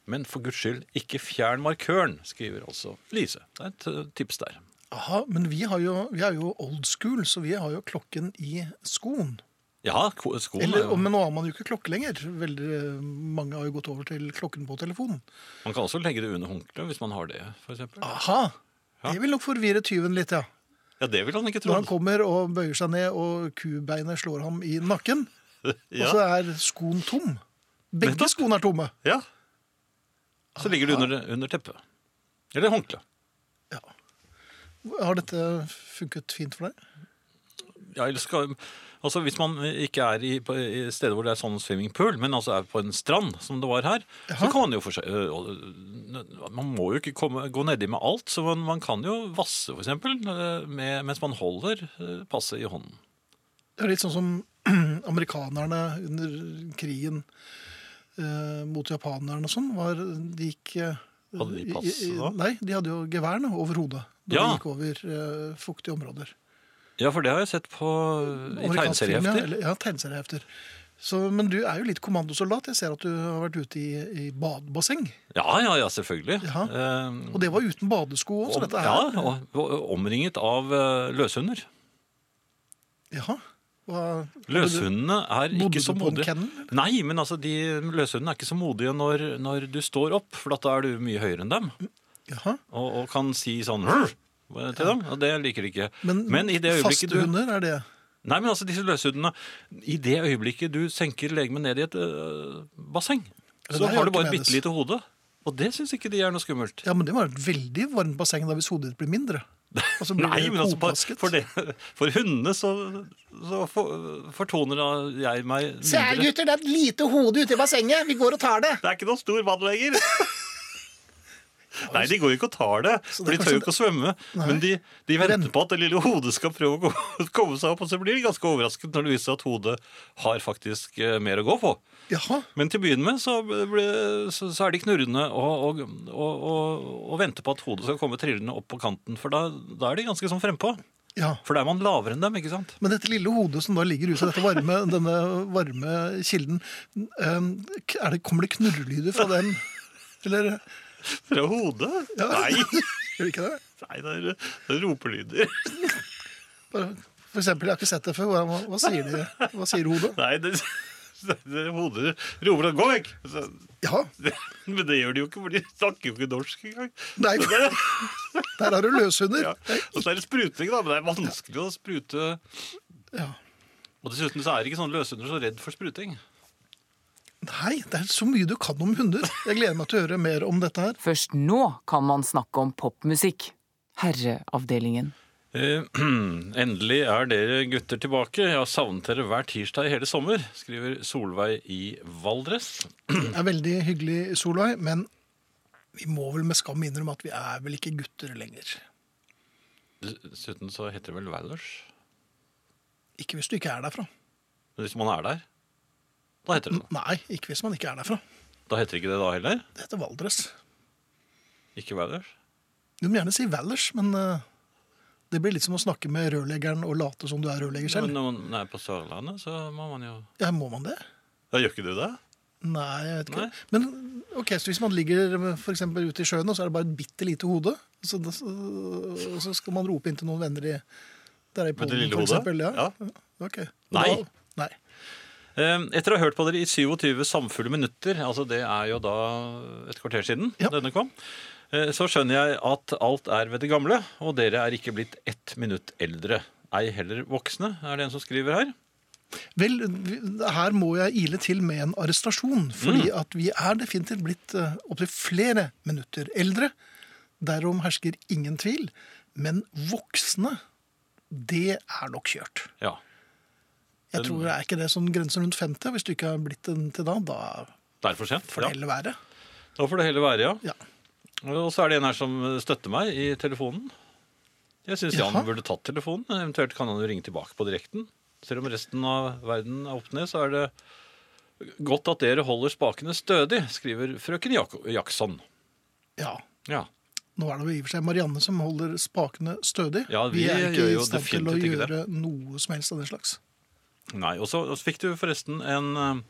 [SPEAKER 3] Men for guds skyld, ikke fjern markøren, skriver altså Lise. Det er et eh, tips der.
[SPEAKER 2] Aha, men vi, har jo, vi er jo old school, så vi har jo klokken i skoen.
[SPEAKER 3] Ja, ko- skoen er
[SPEAKER 2] Eller,
[SPEAKER 3] jo
[SPEAKER 2] men nå har man jo ikke klokke lenger. Veldig eh, mange har jo gått over til klokken på telefonen.
[SPEAKER 3] Man kan også legge det under håndkleet hvis man har det, f.eks.
[SPEAKER 2] Aha! Det vil nok forvirre tyven litt, ja.
[SPEAKER 3] Ja, det vil han ikke
[SPEAKER 2] Når
[SPEAKER 3] tro.
[SPEAKER 2] han kommer og bøyer seg ned, og kubeinet slår ham i nakken,
[SPEAKER 3] Ja.
[SPEAKER 2] og så er skoen tom. Begge
[SPEAKER 3] Nettopp.
[SPEAKER 2] skoene er tomme.
[SPEAKER 3] ja. Så ligger det under, under teppet. Eller håndkle.
[SPEAKER 2] Ja. Har dette funket fint for deg?
[SPEAKER 3] Ja, eller skal, altså hvis man ikke er i, på, i steder hvor det er sånn swimmingpool, men altså er på en strand, som det var her, så
[SPEAKER 2] Jaha.
[SPEAKER 3] kan man jo for seg øh, og- Man må jo ikke komme, gå nedi med alt, så man, man kan jo vasse, f.eks., mens man holder øh, passet i hånden.
[SPEAKER 2] Det er litt sånn som amerikanerne under krigen eh, mot japanerne og sånn. Var, de gikk eh,
[SPEAKER 3] Hadde de pass
[SPEAKER 2] i- i-
[SPEAKER 3] da?
[SPEAKER 2] Nei, de hadde jo geværene over hodet da
[SPEAKER 3] Ja.
[SPEAKER 2] de gikk over eh, fuktige områder.
[SPEAKER 3] Ja, for det har jeg sett på i
[SPEAKER 2] Amerikansk film, ja,
[SPEAKER 3] tegneseriehefter.
[SPEAKER 2] eller- Ja, tegneseriehefter. Så, men du er jo litt kommandosoldat. Jeg ser at du har vært ute i, i badebasseng.
[SPEAKER 3] Ja, ja, ja, selvfølgelig.
[SPEAKER 2] Ja.
[SPEAKER 3] Eh,
[SPEAKER 2] Og det var uten badesko òg, så
[SPEAKER 3] Om,
[SPEAKER 2] dette
[SPEAKER 3] ja,
[SPEAKER 2] her
[SPEAKER 3] og- og omringet av eh, løshunder.
[SPEAKER 2] Jaha. Hva-
[SPEAKER 3] Løshundene er
[SPEAKER 2] Bodde
[SPEAKER 3] ikke så
[SPEAKER 2] du på en
[SPEAKER 3] modige.
[SPEAKER 2] kennel?
[SPEAKER 3] Nei, men altså, de løshundene er ikke så modige når, når du står opp, for at da er du mye høyere enn dem,
[SPEAKER 2] Jaha.
[SPEAKER 3] og, og kan si sånn «Hurr!» til dem, og det liker de ikke.
[SPEAKER 2] Men,
[SPEAKER 3] i det
[SPEAKER 2] faste
[SPEAKER 3] øyeblikket du...
[SPEAKER 2] hunder, er det
[SPEAKER 3] Nei, men altså, disse løshundene, i det øyeblikket du senker legemet ned i et øh, basseng,
[SPEAKER 2] Det
[SPEAKER 3] så
[SPEAKER 2] der
[SPEAKER 3] har
[SPEAKER 2] gjør
[SPEAKER 3] du bare
[SPEAKER 2] ikke
[SPEAKER 3] et
[SPEAKER 2] mennes.
[SPEAKER 3] bitte lite hode, og det synes ikke de er noe skummelt.
[SPEAKER 2] Ja, men det var et veldig varmt basseng da hvis hodet ditt blir mindre. Og så blir
[SPEAKER 3] Nei,
[SPEAKER 2] det
[SPEAKER 3] men altså, for,
[SPEAKER 2] kokvasket.
[SPEAKER 3] for, det, for hundene så, så for, fortoner da jeg meg mindre.
[SPEAKER 2] Se her, gutter, det er et lite hode ute i bassenget. Vi går og tar det.
[SPEAKER 3] Det er ikke noe stor vann lenger. Nei, de går jo ikke og tar det,
[SPEAKER 2] Så
[SPEAKER 3] for
[SPEAKER 2] det
[SPEAKER 3] de
[SPEAKER 2] er
[SPEAKER 3] tør
[SPEAKER 2] kanskje-
[SPEAKER 3] jo ikke å svømme. Men de, de venter på at det lille hodet skal prøve å gå- komme seg opp, og så blir de ganske overrasket når det viser seg at hodet har faktisk eh, mer å gå på.
[SPEAKER 2] Jaha.
[SPEAKER 3] Men til å begynne med så, ble, så, så er de knurrende og, og, og, og, og venter på at hodet skal komme trillende opp på kanten, for da, da er de ganske sånn frempå.
[SPEAKER 2] Ja.
[SPEAKER 3] For da er man lavere enn dem, ikke sant?
[SPEAKER 2] Men dette lille hodet som da ligger ute i dette varme, denne varme kilden, em, er det, kommer det knurrelyder fra den? Eller
[SPEAKER 3] Fra hodet?
[SPEAKER 2] Ja.
[SPEAKER 3] Nei.
[SPEAKER 2] gjør det ikke det?
[SPEAKER 3] Nei, det er, det er ropelyder.
[SPEAKER 2] Bare, for eksempel, jeg har ikke sett det før. Hva, hva sier de? Hva sier hodet?
[SPEAKER 3] Nei, det, det, det hodet roper og 'gå vekk'. Så,
[SPEAKER 2] Ja,
[SPEAKER 3] det, men det gjør de jo ikke, for de snakker jo ikke norsk engang.
[SPEAKER 2] Nei.
[SPEAKER 3] Så det er-
[SPEAKER 2] der har du løshunder.
[SPEAKER 3] ja. Og så er det spruting, da, men det er vanskelig å sprute.
[SPEAKER 2] Ja.
[SPEAKER 3] Og dessuten så er ikke sånne løshunder så redd for spruting.
[SPEAKER 2] Nei, det er så mye du kan om hunder. Jeg gleder meg til å høre mer om dette her.
[SPEAKER 5] Først nå kan man snakke om popmusikk. Herreavdelingen.
[SPEAKER 3] Eh, Endelig er dere gutter tilbake. Jeg har savnet dere hver tirsdag i hele sommer, skriver Solveig i Valdres.
[SPEAKER 2] Det er veldig hyggelig, Solveig, men vi må vel med skam innrømme at vi er vel ikke gutter lenger.
[SPEAKER 3] Dessuten så heter det vel Valers.
[SPEAKER 2] Ikke hvis du ikke er derfra.
[SPEAKER 3] Men Hvis man er der, da heter det det.
[SPEAKER 2] Nei, ikke hvis man ikke er derfra.
[SPEAKER 3] Da heter det ikke det da heller.
[SPEAKER 2] Det heter Valdres.
[SPEAKER 3] Ikke Valers.
[SPEAKER 2] Du må gjerne si Valers, men eh, det blir litt som å snakke med rørleggeren og late som du er rørlegger
[SPEAKER 3] Men
[SPEAKER 2] selv.
[SPEAKER 3] når man er på Sørlandet, så må man jo
[SPEAKER 2] Ja, må man det?
[SPEAKER 3] Da gjør ikke du det?
[SPEAKER 2] Nei, jeg vet ikke.
[SPEAKER 3] Nei.
[SPEAKER 2] Men ok, så hvis man ligger for eksempel ute i sjøen, og så er det bare et bitte lite hode, så, da- så, så skal man rope inn til noen venner i, der i
[SPEAKER 3] Med det
[SPEAKER 2] Polen,
[SPEAKER 3] lille
[SPEAKER 2] for
[SPEAKER 3] hodet?
[SPEAKER 2] eksempel. Ja.
[SPEAKER 3] Ja.
[SPEAKER 2] Ok.
[SPEAKER 3] Nei.
[SPEAKER 2] Da, nei.
[SPEAKER 3] Eh, Etter å ha hørt på dere i 27 samfulle minutter, altså det er jo da et kvarter siden
[SPEAKER 2] Ja.
[SPEAKER 3] denne kom, eh, så skjønner jeg at alt er ved det gamle, og dere er ikke blitt ett minutt eldre. Ei heller voksne, er det en som skriver her.
[SPEAKER 2] Vel, vi- her må jeg ile til med en arrestasjon, fordi
[SPEAKER 3] Mm.
[SPEAKER 2] at vi er definitivt blitt eh, opptil flere minutter eldre. Derom hersker ingen tvil. Men voksne, det er nok kjørt.
[SPEAKER 3] Ja.
[SPEAKER 2] Jeg tror det er ikke det sånn grensen rundt 50, hvis du ikke har blitt den til da, da
[SPEAKER 3] Det er for sent.
[SPEAKER 2] får det
[SPEAKER 3] Ja.
[SPEAKER 2] heller være.
[SPEAKER 3] Da får det heller være, ja.
[SPEAKER 2] Ja.
[SPEAKER 3] Og så er det en her som støtter meg i telefonen. Jeg syns Jan
[SPEAKER 2] Jaha.
[SPEAKER 3] burde tatt telefonen. Eventuelt kan han jo ringe tilbake på direkten. Selv om resten av verden er opp ned, så er det godt at dere holder spakene stødig, skriver frøken Jak Jackson.
[SPEAKER 2] ja.
[SPEAKER 3] Ja.
[SPEAKER 2] Nå er det jo i og for seg Marianne som holder spakene stødig.
[SPEAKER 3] Ja, vi
[SPEAKER 2] er ikke
[SPEAKER 3] gjør jo
[SPEAKER 2] i stand til å
[SPEAKER 3] definitivt ikke det.
[SPEAKER 2] gjøre noe som helst av den slags.
[SPEAKER 3] Nei, og så og så fikk du forresten en eh,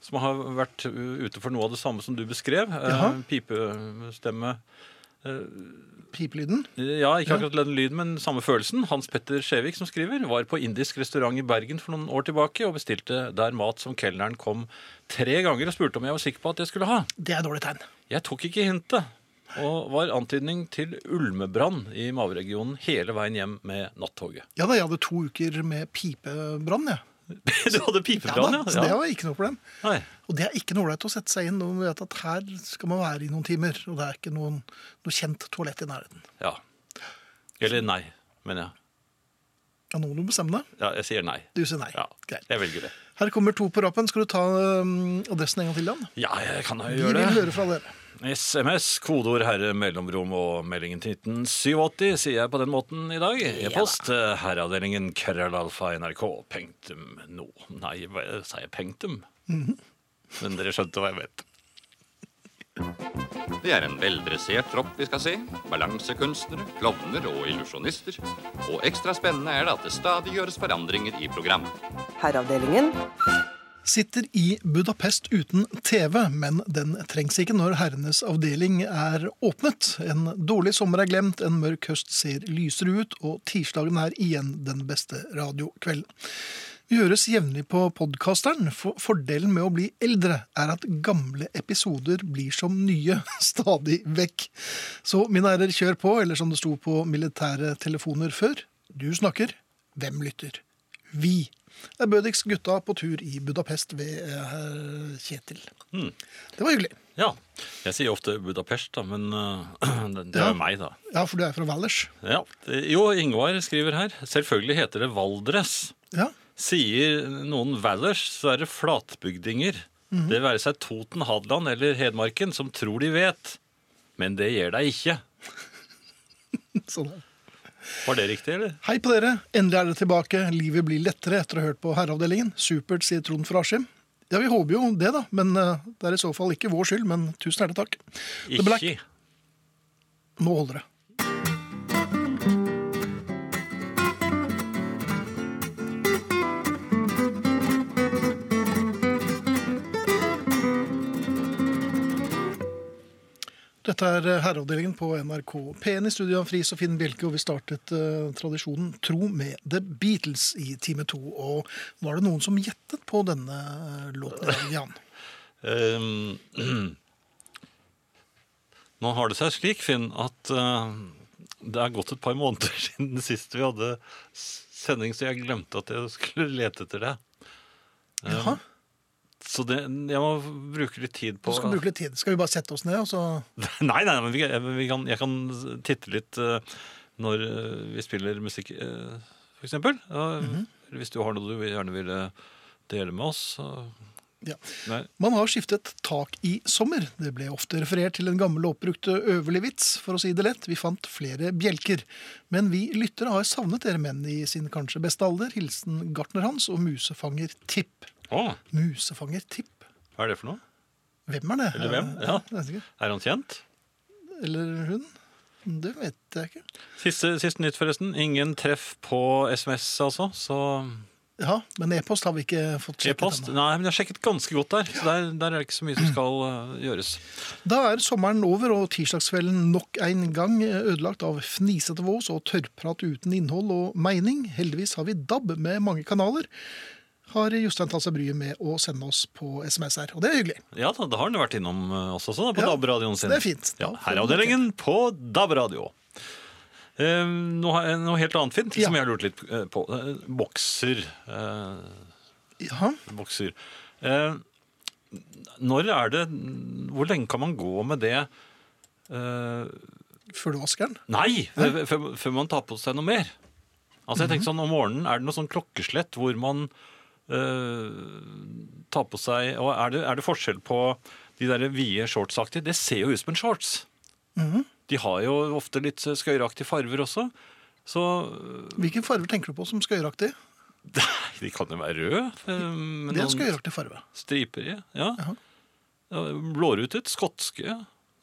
[SPEAKER 3] som har vært u- ute for noe av det samme som du beskrev. eh,
[SPEAKER 2] Jaha.
[SPEAKER 3] Pipestemme.
[SPEAKER 2] Pipelyden.
[SPEAKER 3] Ja, ikke akkurat den lyden, men samme følelsen. Hans Petter Skjevik som skriver, var på indisk restaurant i Bergen for noen år tilbake og bestilte der mat som kelneren kom tre ganger og spurte om jeg var sikker på at jeg skulle ha.
[SPEAKER 2] Det er et dårlig tegn.
[SPEAKER 3] Jeg tok ikke hintet, og var antydning til ulmebrann i maveregionen hele veien hjem med nattoget.
[SPEAKER 2] Ja da, jeg hadde to uker med pipebrann, jeg.
[SPEAKER 3] Du hadde
[SPEAKER 2] Ja, da,
[SPEAKER 3] pipebrann,
[SPEAKER 2] så det
[SPEAKER 3] ja?
[SPEAKER 2] var ikke noe problem.
[SPEAKER 3] Nei.
[SPEAKER 2] Og det er ikke noe ålreit å sette seg inn når man vet at her skal man være i noen timer, og det er ikke noen, noe kjent toalett i nærheten.
[SPEAKER 3] Ja. Eller nei, mener jeg.
[SPEAKER 2] Ja, nå må du bestemme deg.
[SPEAKER 3] Ja, jeg sier nei.
[SPEAKER 2] Du sier nei.
[SPEAKER 3] Ja,
[SPEAKER 2] Greit.
[SPEAKER 3] jeg velger det.
[SPEAKER 2] Her kommer to på rappen. Skal du ta øhm, adressen en gang til, Jan?
[SPEAKER 3] Ja, jeg kan jo
[SPEAKER 2] Vi
[SPEAKER 3] gjøre det.
[SPEAKER 2] vil høre fra dere.
[SPEAKER 3] SMS, kodeord herre, mellomrom og meldingen til 1987, sier jeg på den måten i dag. E-post eh, herreavdelingen krøllalfa nrk punktum no. Nei, hva sa jeg punktum? Men dere skjønte hva jeg mente.
[SPEAKER 5] Det er en veldressert tropp vi skal se. Balansekunstnere, klovner og illusjonister. Og ekstra spennende er det at det stadig gjøres forandringer i programmet.
[SPEAKER 1] Herreavdelingen.
[SPEAKER 2] Sitter i Budapest uten TV, men den trengs ikke når herrenes avdeling er åpnet. En dårlig sommer er glemt, en mørk høst ser lysere ut, og tirsdagen er igjen den beste radiokvelden. Vi høres jevnlig på podkasteren. For fordelen med å bli eldre er at gamle episoder blir som nye, stadig vekk. Så mine ærer, kjør på, eller som det sto på militære telefoner før, du snakker, hvem lytter? Vi. Det er Bødiks gutta på tur i Budapest ved eh, herr Kjetil. Det var hyggelig.
[SPEAKER 3] Ja. Jeg sier ofte Budapest, da, men eh, det, det
[SPEAKER 2] Ja.
[SPEAKER 3] er jo meg, da.
[SPEAKER 2] Ja, for du er fra Valers.
[SPEAKER 3] Ja. det- Jo, Ingvar skriver her. Selvfølgelig heter det Valdres.
[SPEAKER 2] Ja.
[SPEAKER 3] Sier noen Valers, så er det flatbygdinger.
[SPEAKER 2] Mhm.
[SPEAKER 3] Det være seg Toten, Hadeland eller Hedmarken som tror de vet. Men det gjør deg ikke.
[SPEAKER 2] Sånn er det.
[SPEAKER 3] Var det riktig, eller?
[SPEAKER 2] Hei på dere. Endelig er det tilbake. Livet blir lettere etter å ha hørt på Herreavdelingen. Supert, sier Trond fra Askim. Ja, vi håper jo det, da. Men eh, det er i så fall ikke vår skyld. Men tusen hjertelig takk. The Black-
[SPEAKER 3] Ikke.
[SPEAKER 2] Nå holder det. Dette er eh, herreavdelingen på NRK P1 i studio av Friis og Finn Bjelke, og vi startet eh, tradisjonen Tro med The Beatles i time to. Og var det noen som gjettet på denne eh, låten? Jan?
[SPEAKER 3] Ehm, nå har det seg slik, Finn, at eh, det er gått et par måneder siden sist vi hadde s- sending, så jeg glemte at jeg skulle lete etter det. Ehm,
[SPEAKER 2] Jaha,
[SPEAKER 3] Så det, jeg må bruke litt tid
[SPEAKER 2] du
[SPEAKER 3] på
[SPEAKER 2] skal bruke litt tid. Skal vi bare sette oss ned, og så
[SPEAKER 3] Nei, nei, men vi, jeg, vi kan, jeg kan titte litt eh, når eh, vi spiller musikk, eh, for eksempel. Ja,
[SPEAKER 2] Mhm.
[SPEAKER 3] eller Hvis du har noe du vil- gjerne ville dele med oss. så-
[SPEAKER 2] Ja.
[SPEAKER 3] Nei.
[SPEAKER 2] Man har skiftet tak i sommer. Det ble ofte referert til en gammel og oppbrukt øverlig vits, for å si det lett. Vi fant flere bjelker. Men vi lyttere har savnet dere menn i sin kanskje beste alder. Hilsen gartner Hans og musefanger Tipp.
[SPEAKER 3] Å,
[SPEAKER 2] Musefanger Tipp?
[SPEAKER 3] hva er det for noe?
[SPEAKER 2] Hvem er det?
[SPEAKER 3] Eller hvem? Ja.
[SPEAKER 2] jeg vet ikke.
[SPEAKER 3] Er han kjent?
[SPEAKER 2] Eller hun? Det vet jeg ikke.
[SPEAKER 3] Siste, siste nytt, forresten. Ingen treff på SMS, altså. Så
[SPEAKER 2] Ja, Men e-post har vi ikke fått sjekket
[SPEAKER 3] e-post
[SPEAKER 2] ennå.
[SPEAKER 3] Nei, men jeg har sjekket ganske godt der. Så der, der er det ikke så mye som skal eh, gjøres.
[SPEAKER 2] Da er sommeren over, og tirsdagskvelden nok en gang ødelagt av fnisete vås og tørrprat uten innhold og mening. Heldigvis har vi DAB med mange kanaler, har Jostein tatt seg bryet med å sende oss på SMS her. Og det er hyggelig.
[SPEAKER 3] Ja da, det har han vært innom eh, også, så da, på
[SPEAKER 2] Ja,
[SPEAKER 3] DAB-radioen sin.
[SPEAKER 2] det er fint.
[SPEAKER 3] Ja,
[SPEAKER 2] Da får
[SPEAKER 3] Herreavdelingen på DAB-radio. Eh, nå har jeg noe helt annet fint
[SPEAKER 2] Ja.
[SPEAKER 3] som jeg har lurt litt eh, på. Eh, bokser. Eh,
[SPEAKER 2] Ja,
[SPEAKER 3] bokser. Eh, når er det Hvor lenge kan man gå med det eh,
[SPEAKER 2] Før du vasker den?
[SPEAKER 3] Nei! f- Før, før man tar på seg noe mer. Altså jeg tenker sånn, Om morgenen er det noe sånn klokkeslett hvor man eh, tar på seg og er det, er det forskjell på de der vide shortsaktige? Det ser jo ut som en shorts.
[SPEAKER 2] Mhm.
[SPEAKER 3] De har jo ofte litt skøyeraktige farver også. Så
[SPEAKER 2] Hvilke farger tenker du på som skøyeraktig?
[SPEAKER 3] Nei, de kan jo være røde. eh, Med
[SPEAKER 2] Det er en
[SPEAKER 3] noen
[SPEAKER 2] skøyeraktig farge.
[SPEAKER 3] striper i. Ja.
[SPEAKER 2] Jaha.
[SPEAKER 3] Ja, Blårutet. Skotske.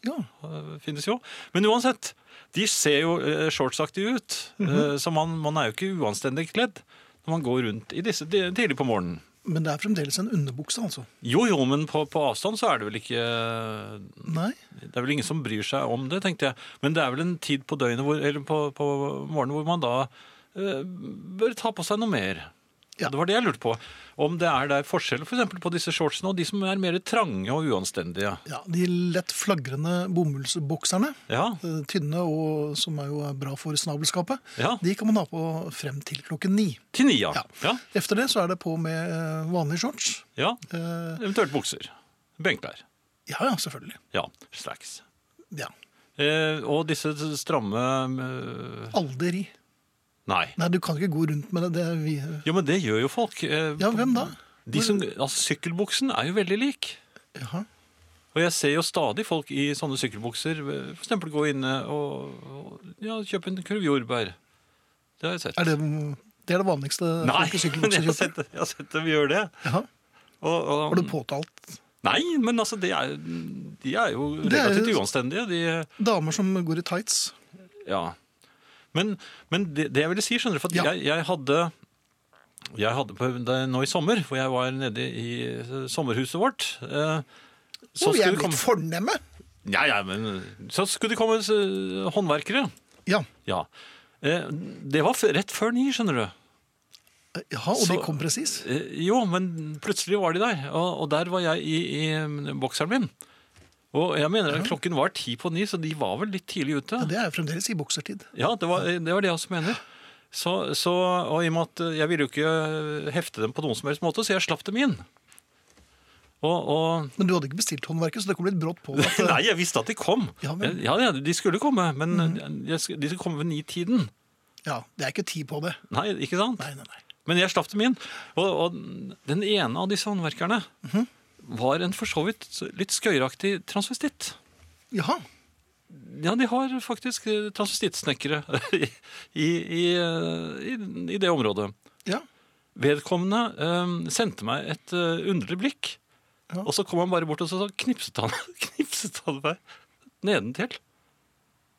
[SPEAKER 2] Ja.
[SPEAKER 3] Eh, finnes jo. Men uansett, de ser jo eh, shortsaktige ut.
[SPEAKER 2] Mhm.
[SPEAKER 3] eh, Så man, man er jo ikke uanstendig kledd når man går rundt i disse de- tidlig på morgenen.
[SPEAKER 2] Men det er fremdeles en underbukse, altså.
[SPEAKER 3] Jo, jo, men på, på avstand så er det vel ikke
[SPEAKER 2] Nei.
[SPEAKER 3] Det er vel ingen som bryr seg om det, tenkte jeg. Men det er vel en tid på døgnet hvor, eller på, på morgenen hvor man da eh, bør ta på seg noe mer.
[SPEAKER 2] Ja.
[SPEAKER 3] Det var det jeg lurte på. Om det er der forskjell for eksempel, på disse shortsene og de som er mer trange og uanstendige.
[SPEAKER 2] Ja, De lett flagrende bomullsbokserne,
[SPEAKER 3] Ja,
[SPEAKER 2] eh, tynne og som er jo bra for snabelskapet,
[SPEAKER 3] Ja.
[SPEAKER 2] de kan man ha på frem til klokken ni.
[SPEAKER 3] Til nia.
[SPEAKER 2] Ja.
[SPEAKER 3] Ja.
[SPEAKER 2] Efter det så er det på med eh, vanlige shorts.
[SPEAKER 3] ja.
[SPEAKER 2] Eh,
[SPEAKER 3] Eventuelt bukser. Benkklær.
[SPEAKER 2] ja, ja, selvfølgelig.
[SPEAKER 3] Ja, straks.
[SPEAKER 2] Ja.
[SPEAKER 3] Eh, og disse stramme eh,
[SPEAKER 2] Aldri.
[SPEAKER 3] Nei.
[SPEAKER 2] Nei, du kan ikke gå rundt med det. det er vi, eh,
[SPEAKER 3] Jo, men det gjør jo folk. Eh,
[SPEAKER 2] ja, hvem da?
[SPEAKER 3] De som, altså, sykkelbuksen er jo veldig lik.
[SPEAKER 2] Jaha.
[SPEAKER 3] Og jeg ser jo stadig folk i sånne sykkelbukser eh, for eksempel gå inne og, og ja, kjøpe en kurv jordbær. Det har jeg sett.
[SPEAKER 2] Er det, det er det vanligste
[SPEAKER 3] Nei,
[SPEAKER 2] folk i
[SPEAKER 3] men jeg har
[SPEAKER 2] sykkelbukser
[SPEAKER 3] sett, det- jeg har sett dem gjøre det.
[SPEAKER 2] Jaha.
[SPEAKER 3] Og, og,
[SPEAKER 2] Har du påtalt
[SPEAKER 3] Nei, men altså, de er, de er jo
[SPEAKER 2] Det er-
[SPEAKER 3] relativt uanstendige. De,
[SPEAKER 2] damer som går i tights?
[SPEAKER 3] Ja. Men, men det, det jeg ville si, skjønner du, for at
[SPEAKER 2] Ja.
[SPEAKER 3] jeg, jeg hadde jeg hadde på, det, nå i sommer, for jeg var nede i eh, sommerhuset vårt eh,
[SPEAKER 2] Å,
[SPEAKER 3] så,
[SPEAKER 2] vi er
[SPEAKER 3] skulle det
[SPEAKER 2] blitt
[SPEAKER 3] komme,
[SPEAKER 2] fornemme!
[SPEAKER 3] ja, ja, men, så skulle det komme eh, håndverkere.
[SPEAKER 2] Ja.
[SPEAKER 3] Ja. Eh, det var f rett før ni, skjønner du.
[SPEAKER 2] Eh, Jaha, og
[SPEAKER 3] Så-
[SPEAKER 2] de kom presis?
[SPEAKER 3] Eh, jo, men plutselig var de der, og, og der var jeg i, i eh, bokseren min. Og jeg mener at klokken var ti på ni, så de var vel litt tidlig ute.
[SPEAKER 2] Ja, det er jo fremdeles i boksertid.
[SPEAKER 3] Ja, det var det, var det jeg også mener. Så, så, og i og med at jeg ville jo ikke hefte dem på noen som helst måte, så jeg slapp dem inn. Og, og
[SPEAKER 2] Men du hadde ikke bestilt håndverket, så det kom litt brått på. At,
[SPEAKER 3] Nei, jeg visste at de kom. Eh,
[SPEAKER 2] Ja, men- Mhm.
[SPEAKER 3] ja, ja, de skulle komme, men jeg, sk- de skulle komme ved ni-tiden.
[SPEAKER 2] ja, det er ikke tid på det.
[SPEAKER 3] Nei, ikke sant?
[SPEAKER 2] Nei, nei, nei.
[SPEAKER 3] Men jeg slapp dem inn. Og, og den ene av disse håndverkerne
[SPEAKER 2] Mhm.
[SPEAKER 3] var en for så vidt litt skøyeraktig transvestitt.
[SPEAKER 2] Jaha.
[SPEAKER 3] Ja, de har faktisk eh, transvesittsnekkere i, i, i, eh, i, i det området.
[SPEAKER 2] Ja.
[SPEAKER 3] Vedkommende eh, sendte meg et eh, underlig blikk.
[SPEAKER 2] Ja.
[SPEAKER 3] Og så kom han bare bort og så så knipset han, knipset han meg nedentil.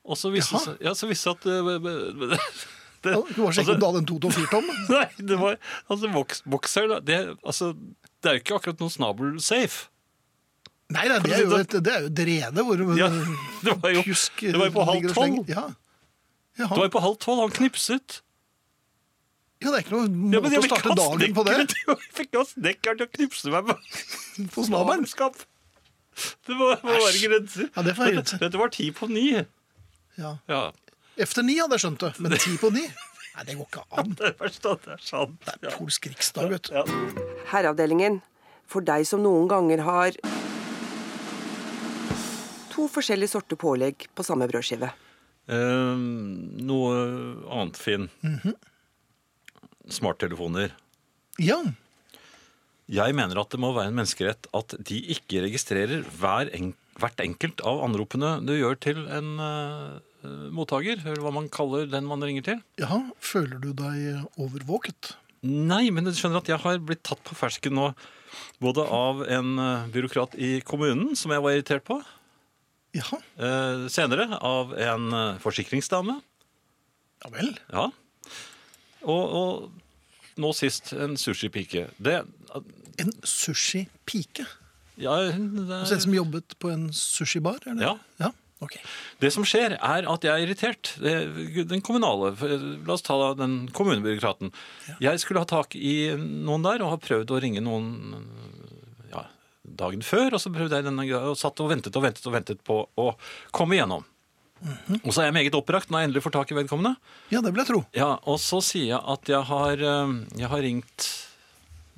[SPEAKER 3] Og så viste det
[SPEAKER 2] Jaha.
[SPEAKER 3] seg- ja, så viste det seg at eh, det, det,
[SPEAKER 2] Du var
[SPEAKER 3] Altså-
[SPEAKER 2] sikker på om du hadde en 224-tom?
[SPEAKER 3] Nei, det var altså, boks, bokser, da, det, altså, det er jo ikke akkurat noen snabelsafe.
[SPEAKER 2] Nei, nei, det er jo et, det er jo et rede hvor
[SPEAKER 3] Ja, det var jo,
[SPEAKER 2] pjusk
[SPEAKER 3] det var jo på halv
[SPEAKER 2] ligger og
[SPEAKER 3] tolv.
[SPEAKER 2] slenger. Ja.
[SPEAKER 3] Det
[SPEAKER 2] Jaha.
[SPEAKER 3] var jo på halv tolv. Han knipset.
[SPEAKER 2] ja, det er ikke noe måte å starte dagen på det.
[SPEAKER 3] Jeg fikk ha snekkeren til å knipse meg på-
[SPEAKER 2] På snabelen.
[SPEAKER 3] Faenskap. Det må, må være
[SPEAKER 2] Æsj.
[SPEAKER 3] grenser.
[SPEAKER 2] Ja, det får være
[SPEAKER 3] dette,
[SPEAKER 2] grenser.
[SPEAKER 3] dette var ti på ni.
[SPEAKER 2] Ja.
[SPEAKER 3] Ja,
[SPEAKER 2] Efter ni hadde jeg skjønt det, men ti på ni? Nei, det går ikke an.
[SPEAKER 3] det er verst at det er sant.
[SPEAKER 2] Det er polsk riksdag, vet du.
[SPEAKER 3] Ja.
[SPEAKER 1] Herreavdelingen. For deg som noen ganger har To forskjellige sorter pålegg på samme brødskive.
[SPEAKER 3] Eh, noe annet, Finn.
[SPEAKER 2] Mhm.
[SPEAKER 3] Smarttelefoner.
[SPEAKER 2] Ja,
[SPEAKER 3] Jeg mener at det må være en menneskerett at de ikke registrerer hver en, hvert enkelt av anropene du gjør til en eh, mottaker, eller hva man kaller den man ringer til.
[SPEAKER 2] ja, føler du deg overvåket?
[SPEAKER 3] Nei, men du skjønner at jeg har blitt tatt på fersken nå, både av en eh, byråkrat i kommunen, som jeg var irritert på,
[SPEAKER 2] Ja,
[SPEAKER 3] eh, senere av en eh, forsikringsdame,
[SPEAKER 2] ja vel.
[SPEAKER 3] ja, og, og nå sist en sushipike. Det,
[SPEAKER 2] En sushi-pike?
[SPEAKER 3] ja, hun er-
[SPEAKER 2] Altså en som jobbet på en sushibar? er det?
[SPEAKER 3] Ja.
[SPEAKER 2] ja. Ok.
[SPEAKER 3] Det som skjer, er at jeg er irritert. Det- Den kommunale La oss ta den kommunebyråkraten. Jeg skulle ha tak i noen der, og har prøvd å ringe noen ja, dagen før. Og så prøvde jeg denne gangen, og satt og ventet og ventet og ventet på å komme igjennom. Og så er jeg meget oppbrakt når jeg endelig får tak i vedkommende.
[SPEAKER 2] Ja, det vil jeg tro.
[SPEAKER 3] Ja, Og så sier jeg at jeg har, eh, jeg har ringt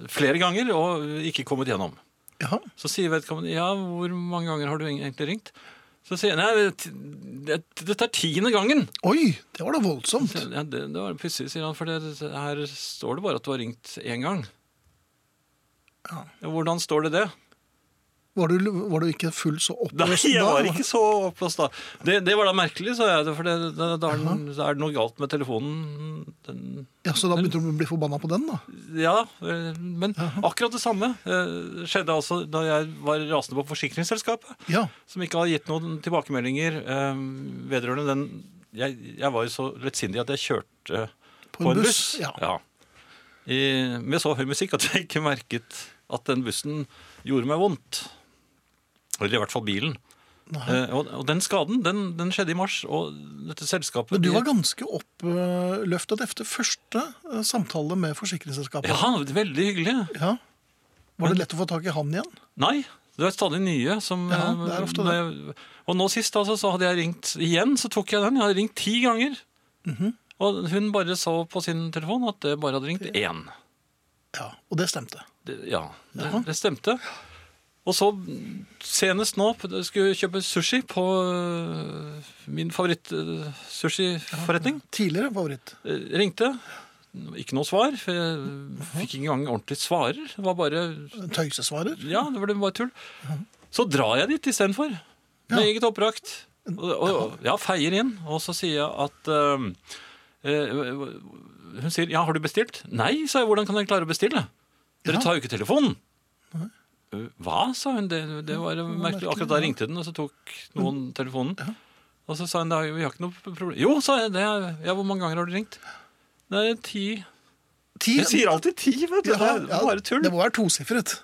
[SPEAKER 3] flere ganger og ikke kommet gjennom.
[SPEAKER 2] Ja,
[SPEAKER 3] Så sier vedkommende ja, hvor mange ganger har du egentlig ringt? Så sier jeg nei, det- det- dette er tiende gangen.
[SPEAKER 2] Oi, det var da voldsomt.
[SPEAKER 3] Ja, det, det var pussig, sier han, for det, her står det bare at du har ringt én gang.
[SPEAKER 2] Ja.
[SPEAKER 3] Hvordan står det det?
[SPEAKER 2] Var du, var du ikke full så
[SPEAKER 3] Nei,
[SPEAKER 2] oppblåst
[SPEAKER 3] jeg
[SPEAKER 2] da?
[SPEAKER 3] var ikke så oppblåst da. Det, det var da merkelig, sa jeg, for det, det, da, er den, da er det noe galt med telefonen. Den,
[SPEAKER 2] Ja, Så da begynte du å bli forbanna på den, da?
[SPEAKER 3] ja, eh, men akkurat det samme eh, skjedde altså da jeg var rasende på forsikringsselskapet.
[SPEAKER 2] Ja.
[SPEAKER 3] som ikke har gitt noen tilbakemeldinger eh, vedrørende den jeg, jeg var jo så lettsindig at jeg kjørte på en, buss.
[SPEAKER 2] ja.
[SPEAKER 3] I, med så høy musikk at jeg ikke merket at den bussen gjorde meg vondt. Eller i hvert fall bilen.
[SPEAKER 2] Nei.
[SPEAKER 3] Eh, og, og den skaden den, den skjedde i mars, og dette selskapet
[SPEAKER 2] Men du
[SPEAKER 3] de-
[SPEAKER 2] var ganske oppløftet etter første eh, samtale med forsikringsselskapet.
[SPEAKER 3] Ja, veldig hyggelig.
[SPEAKER 2] Ja. Var det lett å få tak i han igjen?
[SPEAKER 3] Nei, det er stadig nye som
[SPEAKER 2] Ja, det er ofte det.
[SPEAKER 3] når jeg- Og nå sist altså, så hadde jeg ringt igjen, så tok jeg den. Jeg hadde ringt ti ganger.
[SPEAKER 2] Mhm.
[SPEAKER 3] Og hun bare så på sin telefon at det bare hadde ringt én.
[SPEAKER 2] Ja, Og det stemte.
[SPEAKER 3] Det, ja,
[SPEAKER 2] Jaha.
[SPEAKER 3] det, det stemte. Og så senest nå p- skulle jeg kjøpe sushi på øh, min eh, favoritt-sushiforretning.
[SPEAKER 2] Tidligere favoritt.
[SPEAKER 3] Eh, Ringte. Ikke noe svar. for Jeg fikk ikke engang ordentlig svarer. Det var bare
[SPEAKER 2] Tøysesvarer.
[SPEAKER 3] ja, det var det bare tull. Så drar jeg dit istedenfor. Med eget oppbrakt. Og, og, ja, feier inn. Og så sier jeg at ehm, eh, Hun sier 'ja, har du bestilt?' Nei, sa jeg. 'Hvordan kan jeg klare å bestille?' Dere
[SPEAKER 2] Ja.
[SPEAKER 3] tar jo ikke telefonen. «Eh, Hva, sa hun. Det, det var merkelig. Akkurat da ringte den, og så tok noen telefonen. Og så sa hun da, vi har ikke noe problem. Jo, sa jeg. Det er, ja, hvor mange ganger har du ringt? Det er ti.
[SPEAKER 2] Ti.
[SPEAKER 3] Jeg sier alltid ti, vet du.
[SPEAKER 2] Ja,
[SPEAKER 3] det
[SPEAKER 2] ja,
[SPEAKER 3] er bare tull.
[SPEAKER 2] Det må være tosifret.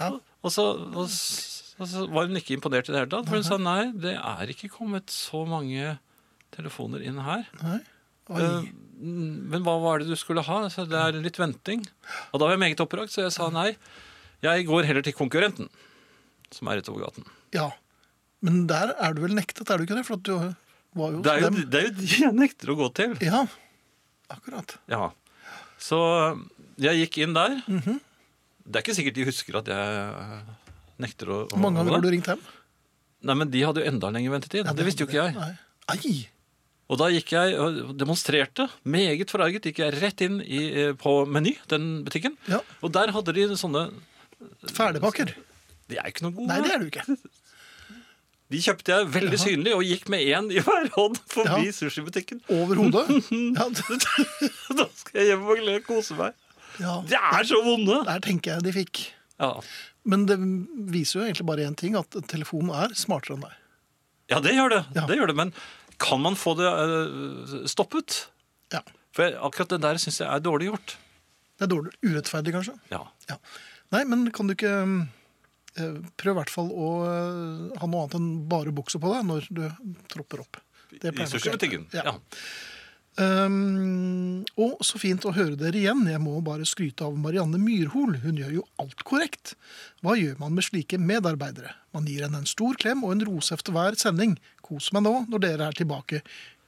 [SPEAKER 3] Og så, og, s- og så var hun ikke imponert i det hele tatt, for hun sa nei, det er ikke kommet så mange telefoner inn her.
[SPEAKER 2] Nei. Oi.
[SPEAKER 3] Eh, Men hva var det du skulle ha? Så det er litt venting. Og da var jeg meget oppbrakt, så jeg sa nei. Jeg går heller til konkurrenten, som er rett over gaten.
[SPEAKER 2] Ja. Men der er du vel nektet, er du ikke det? For at du var jo
[SPEAKER 3] Det er jo,
[SPEAKER 2] hos dem.
[SPEAKER 3] det er jo de jeg nekter å gå til.
[SPEAKER 2] Ja, akkurat.
[SPEAKER 3] Ja. Så jeg gikk inn der. Det er ikke sikkert de husker at jeg nekter å
[SPEAKER 2] Hvor mange ganger har du ringt hjem?
[SPEAKER 3] Nei, men de hadde jo enda lenger ventetid. det visste jo ikke jeg.
[SPEAKER 2] Nei. Ei!
[SPEAKER 3] Og da gikk jeg og demonstrerte, meget forarget, gikk jeg rett inn i, eh, på Meny, den butikken.
[SPEAKER 2] Ja.
[SPEAKER 3] Og der hadde de sånne
[SPEAKER 2] Ferdigpakker.
[SPEAKER 3] De er jo ikke noe gode.
[SPEAKER 2] Nei, det er du ikke.
[SPEAKER 3] De kjøpte jeg veldig synlig og gikk med én i hver hånd forbi
[SPEAKER 2] Ja.
[SPEAKER 3] sushibutikken.
[SPEAKER 2] Over hodet. Ja, det-
[SPEAKER 3] Da skal jeg hjem og glede kose meg.
[SPEAKER 2] ja.
[SPEAKER 3] De er så vonde!
[SPEAKER 2] Der tenker jeg de fikk.
[SPEAKER 3] Ja,
[SPEAKER 2] Men det viser jo egentlig bare én ting, at telefonen er smartere enn deg.
[SPEAKER 3] ja det gjør det.
[SPEAKER 2] Ja.
[SPEAKER 3] Det gjør det. Men kan man få det eh, stoppet?
[SPEAKER 2] Ja.
[SPEAKER 3] For jeg, akkurat det der syns jeg er dårlig gjort.
[SPEAKER 2] Det er dårlig. Urettferdig, kanskje.
[SPEAKER 3] Ja.
[SPEAKER 2] Ja. Nei, men kan du ikke mm, eh, Prøv i hvert fall å eh, ha noe annet enn bare bukse på deg når du tropper opp. Det
[SPEAKER 3] I
[SPEAKER 2] pleier nok å hjelpe.
[SPEAKER 3] sushibutikken. Ja. Ja.
[SPEAKER 2] Um, og så fint å høre dere igjen. Jeg må bare skryte av Marianne Myrhol. Hun gjør jo alt korrekt. Hva gjør man med slike medarbeidere? Man gir henne en stor klem og en rose efter hver sending. Kos meg nå når dere er tilbake.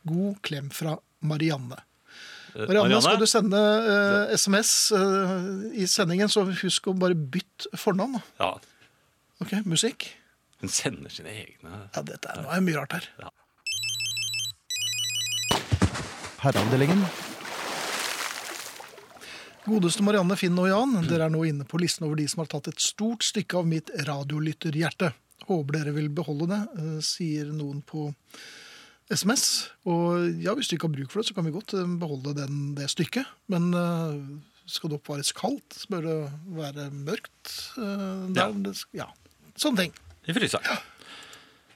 [SPEAKER 2] God klem fra Marianne.
[SPEAKER 3] Eh,
[SPEAKER 2] Marianne, skal du sende eh, SMS eh, i sendingen, så husk å bare bytte fornavn. da.
[SPEAKER 3] ja.
[SPEAKER 2] Ok, musikk?
[SPEAKER 3] Hun sender sine egne
[SPEAKER 2] Ja, dette er, nå er det mye rart her.
[SPEAKER 6] Herreavdelingen.
[SPEAKER 2] Godeste Marianne, Finn og Jan, dere er nå inne på listen over de som har tatt et stort stykke av mitt radiolytterhjerte. Håper dere vil beholde det, eh, sier noen på SMS. Og ja, hvis du ikke har bruk for det, så kan vi godt eh, beholde den, det stykket. Men eh, skal det oppvares kaldt? Bør det være mørkt? eh,
[SPEAKER 3] Ja.
[SPEAKER 2] der? Det sk- ja. Sånne ting.
[SPEAKER 3] I fryseren.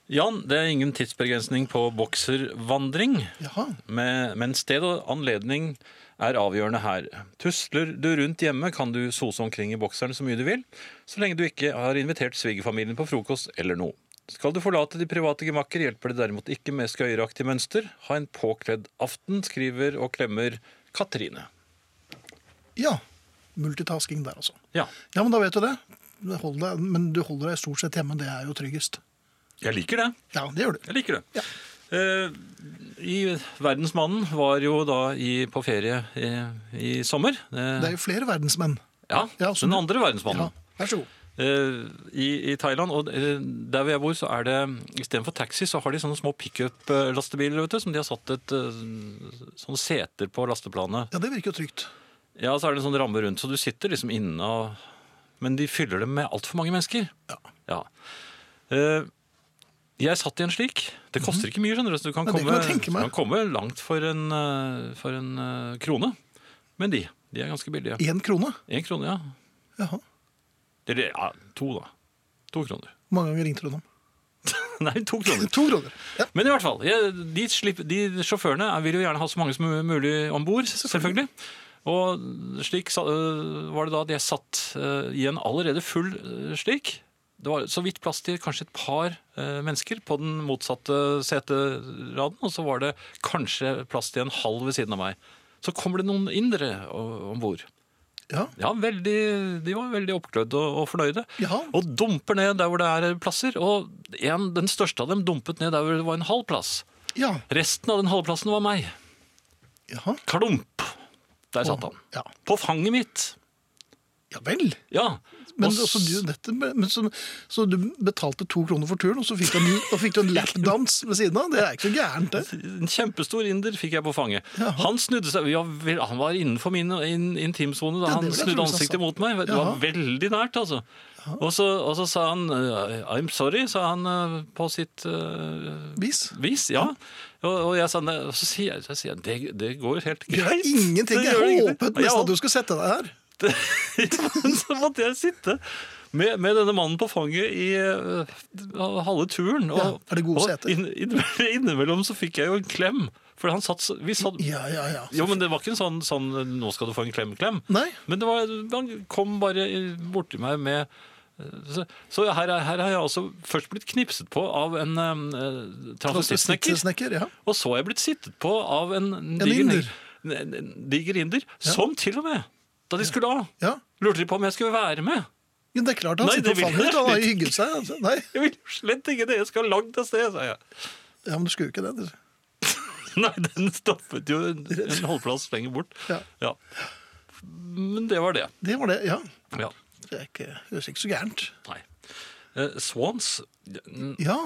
[SPEAKER 3] Jan, det er ingen tidsbegrensning på bokservandring.
[SPEAKER 2] Jaha.
[SPEAKER 3] Med, men sted og anledning er avgjørende her. Tusler du rundt hjemme, kan du sose omkring i bokseren så mye du vil, så lenge du ikke har invitert svigerfamilien på frokost eller noe. Skal du forlate de private gemakker, hjelper det derimot ikke med skøyeraktig mønster. Ha en påkledd aften, skriver og klemmer Katrine.
[SPEAKER 2] Ja. Multitasking der, altså.
[SPEAKER 3] Ja,
[SPEAKER 2] Ja, men da vet du det. Hold deg, men du holder deg stort sett hjemme. Det er jo tryggest.
[SPEAKER 3] jeg liker det.
[SPEAKER 2] Ja, det gjør du.
[SPEAKER 3] Jeg liker det. Eh, i Verdensmannen var jo da i, på ferie i, i sommer. Eh,
[SPEAKER 2] Det er jo flere verdensmenn.
[SPEAKER 3] ja,
[SPEAKER 2] ja, så
[SPEAKER 3] den
[SPEAKER 2] du-
[SPEAKER 3] andre verdensmannen.
[SPEAKER 2] Ja, vær så god.
[SPEAKER 3] Eh, i, i Thailand. Og eh, der hvor jeg bor, så er det istedenfor taxi, så har de sånne små pickup-lastebiler vet du, som de har satt et eh, sånne seter på lasteplanet.
[SPEAKER 2] Ja, det virker jo trygt.
[SPEAKER 3] Ja, så er det en sånn ramme rundt, så du sitter liksom inne og Men de fyller dem med altfor mange mennesker.
[SPEAKER 2] Ja.
[SPEAKER 3] Ja. Eh, jeg satt i en slik. Det koster ikke mye, skjønner du. Så du kan,
[SPEAKER 2] Mhm. Nei, det
[SPEAKER 3] komme,
[SPEAKER 2] kan jeg tenke
[SPEAKER 3] du
[SPEAKER 2] meg.
[SPEAKER 3] kan komme langt for en, eh, for en eh, krone. Men de. De er ganske billige.
[SPEAKER 2] Én krone?
[SPEAKER 3] Én krone, ja.
[SPEAKER 2] Jaha.
[SPEAKER 3] Eller ja, to, da. To kroner.
[SPEAKER 2] Hvor mange ganger ringte du dem?
[SPEAKER 3] Nei, to kroner.
[SPEAKER 2] To kroner. Ja.
[SPEAKER 3] Men i hvert fall, jeg- de, slipp, de sjåførene vil jo gjerne ha så mange som mulig om bord, selvfølgelig. Og slik sa- øh, var det da at jeg satt øh, i en allerede full øh, slik. Det var så vidt plass til kanskje et par øh, mennesker på den motsatte seteraden, og så var det kanskje plass til en halv ved siden av meg. Så kommer det noen indere om bord.
[SPEAKER 2] ja.
[SPEAKER 3] Ja, veldig, de var veldig oppglødd og, og fornøyde.
[SPEAKER 2] Jaha.
[SPEAKER 3] Og dumper ned der hvor det er plasser. Og en, den største av dem dumpet ned der hvor det var en halv plass.
[SPEAKER 2] Ja.
[SPEAKER 3] Resten av den halvplassen var meg.
[SPEAKER 2] Jaha.
[SPEAKER 3] Klump! Der satt han.
[SPEAKER 2] Ja.
[SPEAKER 3] På fanget mitt.
[SPEAKER 2] ja vel.
[SPEAKER 3] Ja.
[SPEAKER 2] Men
[SPEAKER 3] Og s-
[SPEAKER 2] også, du, dette, men så, så du betalte to kroner for turen, og så fikk du en, og fikk du en lapdans ved siden av? Det er ikke så gærent, det.
[SPEAKER 3] En kjempestor inder fikk jeg på fanget. Han snudde seg ja, vel, Han var innenfor min in, intimsone da
[SPEAKER 2] Ja, det
[SPEAKER 3] han
[SPEAKER 2] vil jeg
[SPEAKER 3] snudde
[SPEAKER 2] tro, altså.
[SPEAKER 3] ansiktet
[SPEAKER 2] sa-
[SPEAKER 3] mot meg. Det var veldig nært, altså. Og så, og så sa han eh, I'm sorry, sa han eh, på sitt eh,
[SPEAKER 2] Vis.
[SPEAKER 3] vis, ja. Og, og jeg sa, nei, og så sier jeg, så sier jeg det, det går helt
[SPEAKER 2] Det er
[SPEAKER 3] greit.
[SPEAKER 2] ingenting.
[SPEAKER 3] Det
[SPEAKER 2] Jeg
[SPEAKER 3] gjør ingenting.
[SPEAKER 2] håpet
[SPEAKER 3] Og jeg
[SPEAKER 2] nesten at du skulle sette deg her.
[SPEAKER 3] holdt- så måtte sånn jeg sitte med, med denne mannen på fanget i øh, halve turen. Og,
[SPEAKER 2] Ja, er det gode
[SPEAKER 3] og
[SPEAKER 2] seter?
[SPEAKER 3] inn- inn- innimellom så fikk jeg jo en klem. For han satt, så- vi satt
[SPEAKER 2] Ja, ja, ja.
[SPEAKER 3] jo, men Det var ikke en sånn, sånn 'nå skal du få en klem-klem'.
[SPEAKER 2] Nei.
[SPEAKER 3] Men det var, han kom bare borti meg med eh, Så, så her, er- her har jeg altså først blitt knipset på av en øh, transvestistsnekker.
[SPEAKER 2] Transvestistsnekker, ja.
[SPEAKER 3] Og så er jeg blitt sittet på av en, diger
[SPEAKER 2] inder.
[SPEAKER 3] En- en diger inder, som til og med, da de skulle av,
[SPEAKER 2] ja.
[SPEAKER 3] lurte de på om jeg skulle være med.
[SPEAKER 2] Men det er klart han
[SPEAKER 3] Nei,
[SPEAKER 2] sitter
[SPEAKER 3] det
[SPEAKER 2] og
[SPEAKER 3] vil jeg
[SPEAKER 2] faller ut. Han har jo
[SPEAKER 3] ikke.
[SPEAKER 2] hygget seg. altså. Nei,
[SPEAKER 3] Jeg vil jo slett ikke det, jeg skal langt av sted, sa jeg.
[SPEAKER 2] ja, men du skulle jo ikke det.
[SPEAKER 3] Nei, den stoppet jo en, en holdeplass lenger bort.
[SPEAKER 2] Ja.
[SPEAKER 3] Ja. Men det var det.
[SPEAKER 2] Det var det, ja.
[SPEAKER 3] Ja.
[SPEAKER 2] Det er ikke, høres ikke så gærent.
[SPEAKER 3] Nei. Eh, Swans, er
[SPEAKER 2] Ja.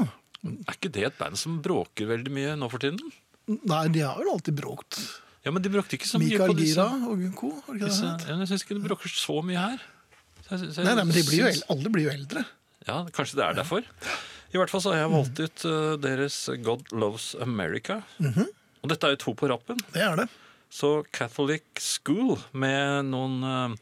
[SPEAKER 3] ikke det et band som bråker veldig mye nå for tiden?
[SPEAKER 2] Nei, de har vel alltid bråkt.
[SPEAKER 3] Ja, men de bråkte ikke så mye
[SPEAKER 2] Mikael
[SPEAKER 3] på disse.
[SPEAKER 2] Gira og co. har ikke det
[SPEAKER 3] disse
[SPEAKER 2] det het?
[SPEAKER 3] ja, men jeg syns ikke de bråker så mye her. Så jeg- så jeg
[SPEAKER 2] Nei, nei, men de blir jo,
[SPEAKER 3] syns-
[SPEAKER 2] el- alle blir jo eldre.
[SPEAKER 3] Ja, kanskje det er derfor. I hvert fall så har jeg valgt ut eh, deres God Loves America.
[SPEAKER 2] Mhm.
[SPEAKER 3] Og dette er jo to på rappen.
[SPEAKER 2] Det er det.
[SPEAKER 3] Så Catholic School med noen eh,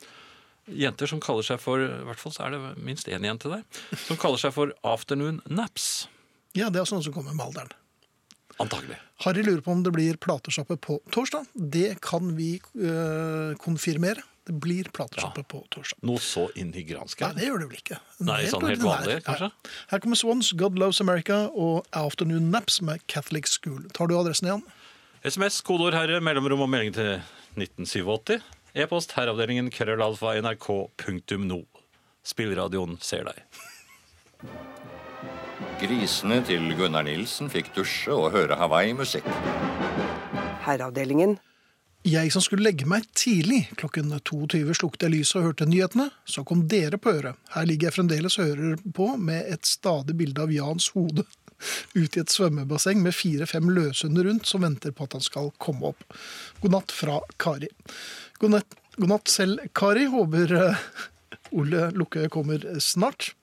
[SPEAKER 3] jenter som kaller seg for I hvert fall så er det minst én jente der. Som kaller seg for Afternoon Naps.
[SPEAKER 2] Ja, Det er sånn som kommer med alderen.
[SPEAKER 3] Antagelig.
[SPEAKER 2] Harry lurer på om det blir platesjappe på torsdag. Det kan vi øh, konfirmere. Det blir platesjappe på torsdag.
[SPEAKER 3] Noe så inn i granskauen.
[SPEAKER 2] Nei, det gjør det vel ikke.
[SPEAKER 3] Nei, sånn helt
[SPEAKER 2] ordinær.
[SPEAKER 3] vanlig, kanskje?
[SPEAKER 2] Ja. Her kommer Swans, God Loves America og Afternoon Naps med Catholic School. Tar du adressen igjen?
[SPEAKER 3] SMS, kodeord herre, mellomrom og melding til 1987. E-post herreavdelingen krøllalfa nrk.no. Spillradioen ser deg.
[SPEAKER 5] Grisene til Gunnar Nilsen fikk dusje og høre Hawaii-musikk.
[SPEAKER 1] Herreavdelingen.
[SPEAKER 2] Jeg som skulle legge meg tidlig, klokken 22 slukte jeg lyset og hørte nyhetene. Så kom dere på øret. Her ligger jeg fremdeles og hører på med et stadig bilde av Jans hode. ut i et svømmebasseng med fire-fem løshunder rundt som venter på at han skal komme opp. God natt fra Kari. God natt, god natt selv, Kari. Håper eh, Ole Lukkøy kommer snart.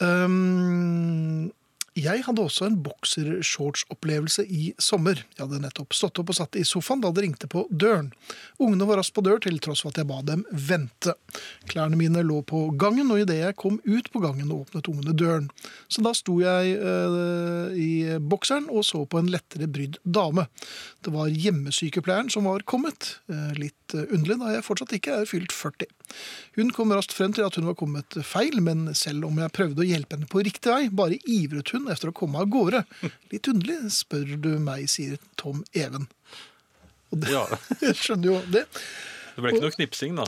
[SPEAKER 2] Ehm, jeg hadde også en boksershorts-opplevelse i sommer. Jeg hadde nettopp stått opp og satt i sofaen da det ringte på døren. Ungene var raskt på dør, til tross for at jeg ba dem vente. Klærne mine lå på gangen, og idet jeg kom ut på gangen, åpnet ungene døren. Så da sto jeg eh, i bokseren og så på en lettere brydd dame. Det var hjemmesykepleieren som var kommet. Eh, litt eh, underlig, da jeg fortsatt ikke er fylt 40. Hun kom raskt frem til at hun var kommet feil, men selv om jeg prøvde å hjelpe henne på riktig vei, bare ivret hun etter å komme av gårde. Litt underlig, spør du meg, sier Tom Even. Og det,
[SPEAKER 3] Ja.
[SPEAKER 2] jeg skjønner jo det.
[SPEAKER 3] Det ble ikke noe knipsing, da.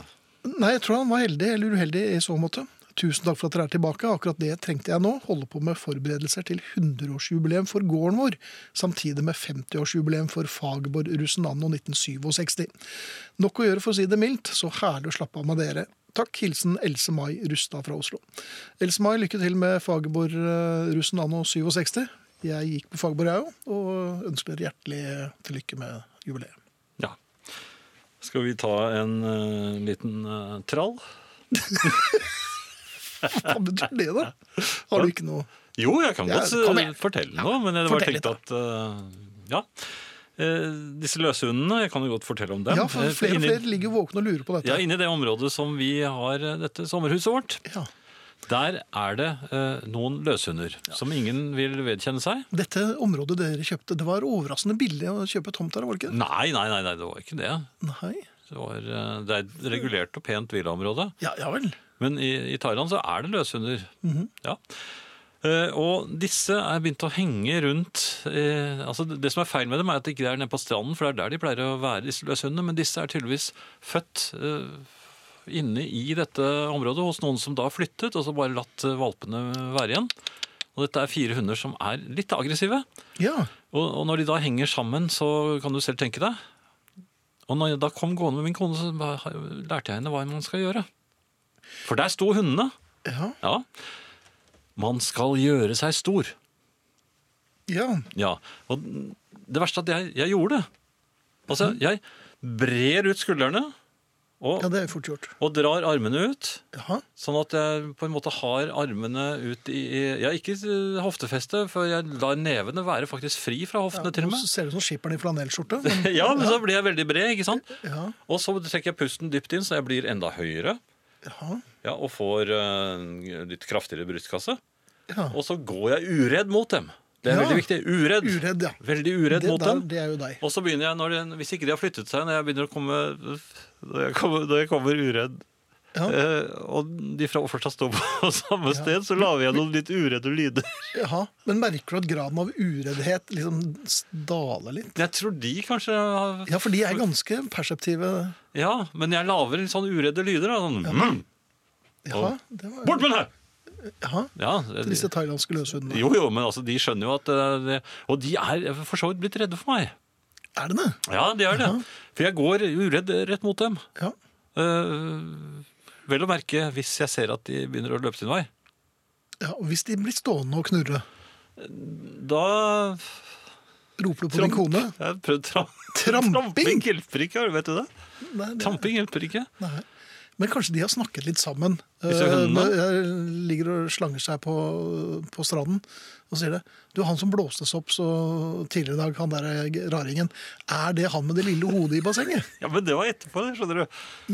[SPEAKER 2] Nei, jeg tror han var heldig eller uheldig i så måte. Tusen takk for at dere er tilbake. Akkurat det trengte jeg nå. Holde på med forberedelser til 100-årsjubileum for gården vår, samtidig med 50-årsjubileum for Fagerborg russen anno 1967. Nok å gjøre, for å si det mildt. Så herlig å slappe av med dere. Takk. Hilsen Else-May Rustad fra Oslo. Else-May, lykke til med Fagerborg eh, russen anno 67. Jeg gikk på Fagerborg, jeg òg, og ønsker dere hjertelig til lykke med jubileet.
[SPEAKER 3] Ja. Skal vi ta en eh, liten eh, trall?
[SPEAKER 2] Hva betyr det, da? Har du ikke noe
[SPEAKER 3] Jo, jeg kan
[SPEAKER 2] Ja,
[SPEAKER 3] godt
[SPEAKER 2] kom
[SPEAKER 3] eh,
[SPEAKER 2] igjen.
[SPEAKER 3] fortelle noe, men jeg bare
[SPEAKER 2] fortell litt,
[SPEAKER 3] tenkte at eh, Ja. Eh, disse løshundene, jeg kan jo godt fortelle om dem.
[SPEAKER 2] Ja, for
[SPEAKER 3] Eh,
[SPEAKER 2] flere og
[SPEAKER 3] inni-
[SPEAKER 2] flere ligger våkne og lurer på dette.
[SPEAKER 3] Ja, Inni det området som vi har eh, dette sommerhuset vårt,
[SPEAKER 2] Ja.
[SPEAKER 3] der er det eh, noen løshunder som ingen vil vedkjenne seg.
[SPEAKER 2] Dette området dere kjøpte, det var overraskende billig å kjøpe tomt her, var det ikke?
[SPEAKER 3] Nei, nei, nei, nei det var ikke det.
[SPEAKER 2] Nei.
[SPEAKER 3] Det, var, eh, det er et regulert og pent villaområde.
[SPEAKER 2] Ja, ja vel.
[SPEAKER 3] Men i, i Thailand så er det løshunder. ja. Eh, og disse er begynt å henge rundt eh, altså Det det som er feil med dem, er at de ikke er nede på stranden, for det er der de pleier å være, disse løshundene. Men disse er tydeligvis født eh, inne i dette området hos noen som da har flyttet, og så bare latt eh, valpene være igjen. Og dette er fire hunder som er litt aggressive.
[SPEAKER 2] Ja.
[SPEAKER 3] Og, og når de da henger sammen, så kan du selv tenke deg. Og når jeg da kom gående med min kone, så ba- lærte jeg henne hva man skal gjøre. For der sto hundene.
[SPEAKER 2] Ja.
[SPEAKER 3] Ja. Man skal gjøre seg stor.
[SPEAKER 2] ja.
[SPEAKER 3] Ja. Og det verste er at jeg, jeg gjorde det. Altså, jeg brer ut skuldrene og,
[SPEAKER 2] Ja, det er fort gjort.
[SPEAKER 3] og drar armene ut.
[SPEAKER 2] Ja.
[SPEAKER 3] Sånn at jeg på en måte har armene ut i i- Ja, ikke eh, hoftefeste, for jeg lar nevene være faktisk fri fra hoftene, til og
[SPEAKER 2] Nå
[SPEAKER 3] med.
[SPEAKER 2] ser det ut som skipperen i flanellskjorte. men-
[SPEAKER 3] Ja, men så blir jeg veldig bred, ikke sant?
[SPEAKER 2] Ja.
[SPEAKER 3] Og så trekker jeg pusten dypt inn, så jeg blir enda høyere.
[SPEAKER 2] Ja.
[SPEAKER 3] Ja, og får eh, litt kraftigere brystkasse.
[SPEAKER 2] ja.
[SPEAKER 3] Og så går jeg uredd mot dem. Det er
[SPEAKER 2] Ja.
[SPEAKER 3] veldig viktig. Uredd.
[SPEAKER 2] Uredd, ja.
[SPEAKER 3] Veldig uredd
[SPEAKER 2] Det,
[SPEAKER 3] mot
[SPEAKER 2] der,
[SPEAKER 3] dem.
[SPEAKER 2] det er jo deg.
[SPEAKER 3] Og så begynner jeg, når de, hvis ikke de har flyttet seg, når jeg begynner å komme Når jeg kommer, når jeg kommer uredd
[SPEAKER 2] Ja.
[SPEAKER 3] eh, og de fra fortsatt står på samme sted, så lager jeg noen litt uredde lyder.
[SPEAKER 2] Ja. Men merker du at graden av ureddhet liksom daler litt?
[SPEAKER 3] Jeg tror de kanskje har
[SPEAKER 2] Ja, for de er ganske perseptive.
[SPEAKER 3] Ja, men jeg lager litt sånn uredde lyder. Da, sånn, mm,
[SPEAKER 2] Ja, det var,
[SPEAKER 3] Bort med den her!
[SPEAKER 2] ja.
[SPEAKER 3] Ja,
[SPEAKER 2] Disse thailandske løshundene.
[SPEAKER 3] Jo, jo, men altså, de skjønner jo at eh, det- Og de er eh, for så vidt blitt redde for meg.
[SPEAKER 2] Er det det?
[SPEAKER 3] Ja, de er det. For jeg går uredd rett mot dem.
[SPEAKER 2] Ja.
[SPEAKER 3] Eh, vel å merke hvis jeg ser at de begynner å løpe sin vei.
[SPEAKER 2] ja. Og hvis de blir stående og knurre,
[SPEAKER 3] Da
[SPEAKER 2] roper du på din kone?
[SPEAKER 3] Jeg har prøvd tra
[SPEAKER 2] Tramping?
[SPEAKER 3] tramping hjelper ikke, har du- vet du det?
[SPEAKER 2] Nei, det-
[SPEAKER 3] Tramping hjelper ikke.
[SPEAKER 2] Nei. Men kanskje de har snakket litt sammen.
[SPEAKER 3] Disse hundene?
[SPEAKER 2] Eh, jeg ligger og slanger seg på, på stranden og sier det. Du, han som blåstes opp så tidligere i dag, han der eh, raringen, er det han med det lille hodet i bassenget?
[SPEAKER 3] Ja, Men det var etterpå, det, skjønner du.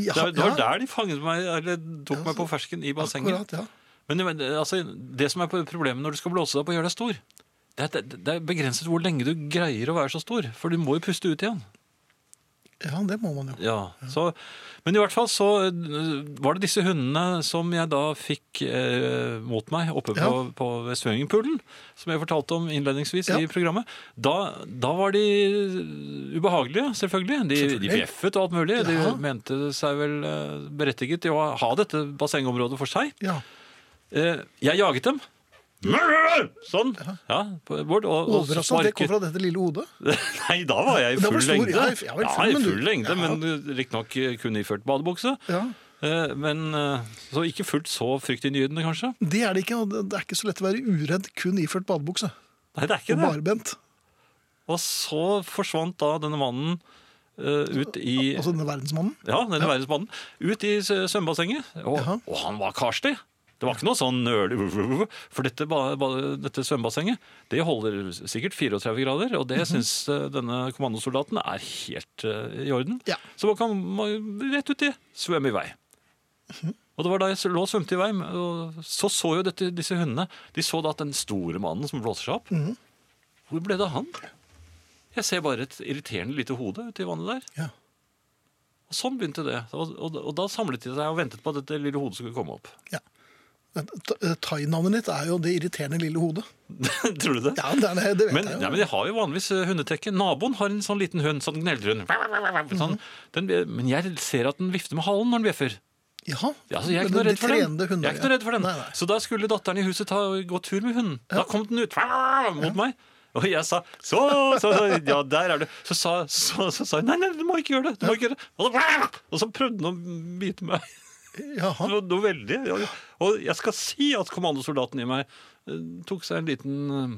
[SPEAKER 2] Ja,
[SPEAKER 3] det, var- det var
[SPEAKER 2] ja.
[SPEAKER 3] der de fanget meg, eller tok meg på fersken i bassenget.
[SPEAKER 2] Akkurat, ja.
[SPEAKER 3] Men men, altså, det som er problemet når du skal blåse deg opp og gjøre deg stor, det er, at det, det er begrenset hvor lenge du greier å være så stor, for du må jo puste ut igjen.
[SPEAKER 2] Ja, det må man jo.
[SPEAKER 3] Ja, så, men i hvert fall så øh, var det disse hundene som jeg da fikk eh, mot meg oppe
[SPEAKER 2] Ja.
[SPEAKER 3] på, på ved swimmingpoolen, som jeg fortalte om innledningsvis
[SPEAKER 2] Ja.
[SPEAKER 3] i programmet. Da, da var de eh, ubehagelige, selvfølgelig. De, de
[SPEAKER 2] Selvfølgelig.
[SPEAKER 3] bjeffet og alt mulig.
[SPEAKER 2] Ja.
[SPEAKER 3] De mente seg vel eh, berettiget til å ha dette bassengområdet for seg.
[SPEAKER 2] Ja.
[SPEAKER 3] Eh, jeg jaget dem. Sånn. Ja, på- Bård. Og, og
[SPEAKER 2] Overraskende at det kom
[SPEAKER 3] sparket-
[SPEAKER 2] fra dette lille hodet.
[SPEAKER 3] Nei, da var jeg i
[SPEAKER 2] Da var
[SPEAKER 3] full
[SPEAKER 2] du stor.
[SPEAKER 3] lengde.
[SPEAKER 2] Ja, i- ja, vel,
[SPEAKER 3] Ja,
[SPEAKER 2] full,
[SPEAKER 3] i
[SPEAKER 2] men du-
[SPEAKER 3] full lengde,
[SPEAKER 2] Ja.
[SPEAKER 3] men riktignok kun iført badebukse.
[SPEAKER 2] Ja.
[SPEAKER 3] Eh, Men eh, så ikke fullt så fryktinngytende, kanskje?
[SPEAKER 2] Det er det ikke, og det det er ikke så lett å være uredd kun iført badebukse.
[SPEAKER 3] Nei, det er ikke
[SPEAKER 2] Og
[SPEAKER 3] det.
[SPEAKER 2] barbent.
[SPEAKER 3] Og så forsvant da denne mannen eh, ut i
[SPEAKER 2] Altså denne verdensmannen.
[SPEAKER 3] Ja, denne verdensmannen. Ut i s- svømmebassenget. Og,
[SPEAKER 2] Jaha.
[SPEAKER 3] og han var karstig. Det var ikke noe sånn nølig For dette, ba- ba- dette svømmebassenget det holder sikkert 34 grader, og
[SPEAKER 2] Mhm.
[SPEAKER 3] det syns eh, denne kommandosoldaten er helt eh, i orden.
[SPEAKER 2] Ja.
[SPEAKER 3] Så kan man rett uti svømme i vei.
[SPEAKER 2] Mhm.
[SPEAKER 3] Og det var da jeg s- lå og svømte i vei, og så så jo dette, disse hundene De så da at den store mannen som blåser seg opp
[SPEAKER 2] Mhm.
[SPEAKER 3] Hvor ble det av han? Jeg ser bare et irriterende lite hode uti vannet der.
[SPEAKER 2] Ja.
[SPEAKER 3] Og sånn begynte det. Og, og, og da samlet de seg og ventet på at dette lille hodet skulle komme opp.
[SPEAKER 2] ja. Eh, Thai-navnet ditt er jo det irriterende lille hodet.
[SPEAKER 3] Tror du det?
[SPEAKER 2] Ja, det, er det, det vet
[SPEAKER 3] Men,
[SPEAKER 2] jeg jo.
[SPEAKER 3] ja, men de har jo vanligvis eh, hundetekke. Naboen har en sånn liten hund, sånn gneldrehund. Sånn.
[SPEAKER 2] Mm.
[SPEAKER 3] Den, men jeg ser at den vifter med halen når den bjeffer.
[SPEAKER 2] Jaha,
[SPEAKER 3] Ja, så jeg er
[SPEAKER 2] men
[SPEAKER 3] ikke noe
[SPEAKER 2] de
[SPEAKER 3] redd for den.
[SPEAKER 2] trenede hundene,
[SPEAKER 3] Jeg er ikke noe
[SPEAKER 2] ja.
[SPEAKER 3] redd for den.
[SPEAKER 2] Nei, nei.
[SPEAKER 3] Så da skulle datteren i huset ta, gå tur med hunden. Da kom den ut mot meg. Og jeg sa så, så, så, ja, der er du. Så sa så, så, sa jeg nei, nei, du må ikke gjøre det. Du må ikke gjøre det. Og så, og så prøvde den å bite meg.
[SPEAKER 2] Jaha.
[SPEAKER 3] Noe, noe veldig. Ja. Og jeg skal si at kommandosoldaten i meg eh, tok seg en liten eh,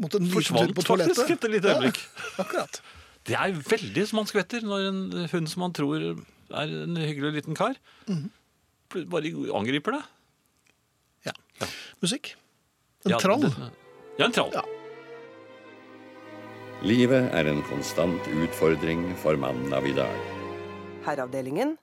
[SPEAKER 2] Måtte en liten tur
[SPEAKER 3] Forsvant
[SPEAKER 2] på toalettet.
[SPEAKER 3] faktisk et lite øyeblikk.
[SPEAKER 2] Ja, akkurat.
[SPEAKER 3] Det er veldig som man skvetter når en hund som man tror er en hyggelig liten kar,
[SPEAKER 2] Mhm.
[SPEAKER 3] pl- bare angriper deg.
[SPEAKER 2] Ja. Musikk. En
[SPEAKER 3] Ja,
[SPEAKER 2] trall.
[SPEAKER 3] det- Ja, en trall.
[SPEAKER 2] Ja.
[SPEAKER 5] Livet er en konstant utfordring for mannen av i dag.
[SPEAKER 1] Herreavdelingen.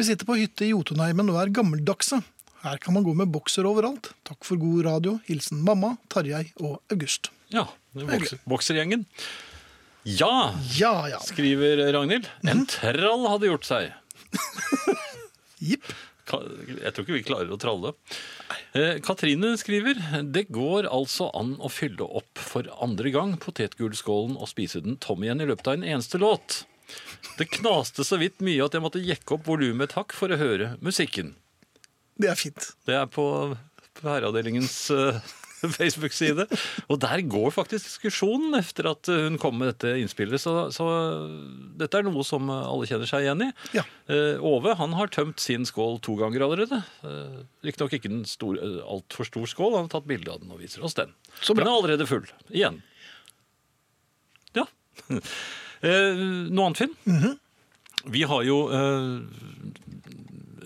[SPEAKER 2] Vi sitter på hytte i Jotunheimen og er gammeldagse. Her kan man gå med bokser overalt. Takk for god radio. Hilsen mamma, Tarjei og August.
[SPEAKER 3] Ja, det er bokser, Boksergjengen. Ja,
[SPEAKER 2] Ja, ja.
[SPEAKER 3] skriver Ragnhild.
[SPEAKER 2] Mhm.
[SPEAKER 3] En trall hadde gjort seg.
[SPEAKER 2] Jipp.
[SPEAKER 3] Ka- Jeg tror ikke vi klarer å tralle. Eh, Katrine skriver Det går altså an å fylle opp for andre gang potetgullskålen og spise den tom igjen i løpet av en eneste låt. Det knaste så vidt mye at jeg måtte jekke opp volumet et hakk for å høre musikken.
[SPEAKER 2] Det er fint.
[SPEAKER 3] Det er på, på herreavdelingens eh, Facebook-side. Og der går faktisk diskusjonen etter at eh, hun kom med dette innspillet. Så, så eh, dette er noe som eh, alle kjenner seg igjen i.
[SPEAKER 2] Ja.
[SPEAKER 3] Eh, Ove han har tømt sin skål to ganger allerede. Uh, Riktignok ikke en stor, eh, altfor stor skål, han har tatt bilde av den og viser oss den.
[SPEAKER 2] Så bra.
[SPEAKER 3] Den er allerede full. Igjen. Ja. Eh, noe annet, Finn?
[SPEAKER 2] Mhm.
[SPEAKER 3] Vi har jo eh,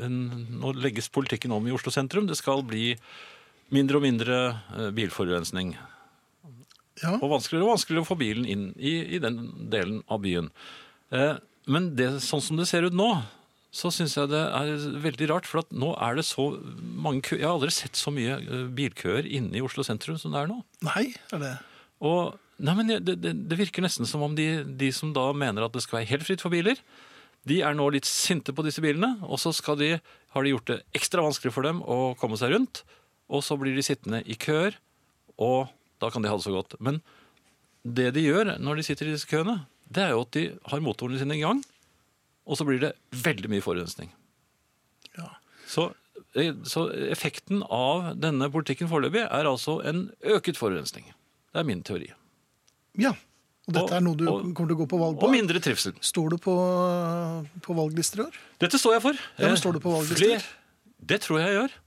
[SPEAKER 3] en, Nå legges politikken om i Oslo sentrum. Det skal bli mindre og mindre eh, bilforurensning.
[SPEAKER 2] Ja.
[SPEAKER 3] Og vanskeligere og vanskeligere å få bilen inn i, i den delen av byen. Eh, men det, sånn som det ser ut nå, så syns jeg det er veldig rart. For at nå er det så mange kø Jeg har aldri sett så mye eh, bilkøer inne i Oslo sentrum som det er nå.
[SPEAKER 2] Nei, er det
[SPEAKER 3] Og, nei, men det, det, det virker nesten som om de, de som da mener at det skal være helt fritt for biler, de er nå litt sinte på disse bilene, og så skal de, har de gjort det ekstra vanskelig for dem å komme seg rundt, og så blir de sittende i køer, og da kan de ha det så godt. Men det de gjør når de sitter i disse køene, det er jo at de har motorene sine i gang, og så blir det veldig mye forurensning.
[SPEAKER 2] Ja.
[SPEAKER 3] Så, eh, så effekten av denne politikken foreløpig er altså en øket forurensning. Det er min teori.
[SPEAKER 2] Ja. Og dette
[SPEAKER 3] Og-
[SPEAKER 2] er noe du
[SPEAKER 3] og-
[SPEAKER 2] kommer til å gå på valg
[SPEAKER 3] Og
[SPEAKER 2] på?
[SPEAKER 3] mindre trivsel.
[SPEAKER 2] Står du på, på valglister i år?
[SPEAKER 3] Dette står jeg for.
[SPEAKER 2] Ja, men
[SPEAKER 3] Eh,
[SPEAKER 2] står du på valgdistrikt?
[SPEAKER 3] flere- Det tror jeg jeg gjør.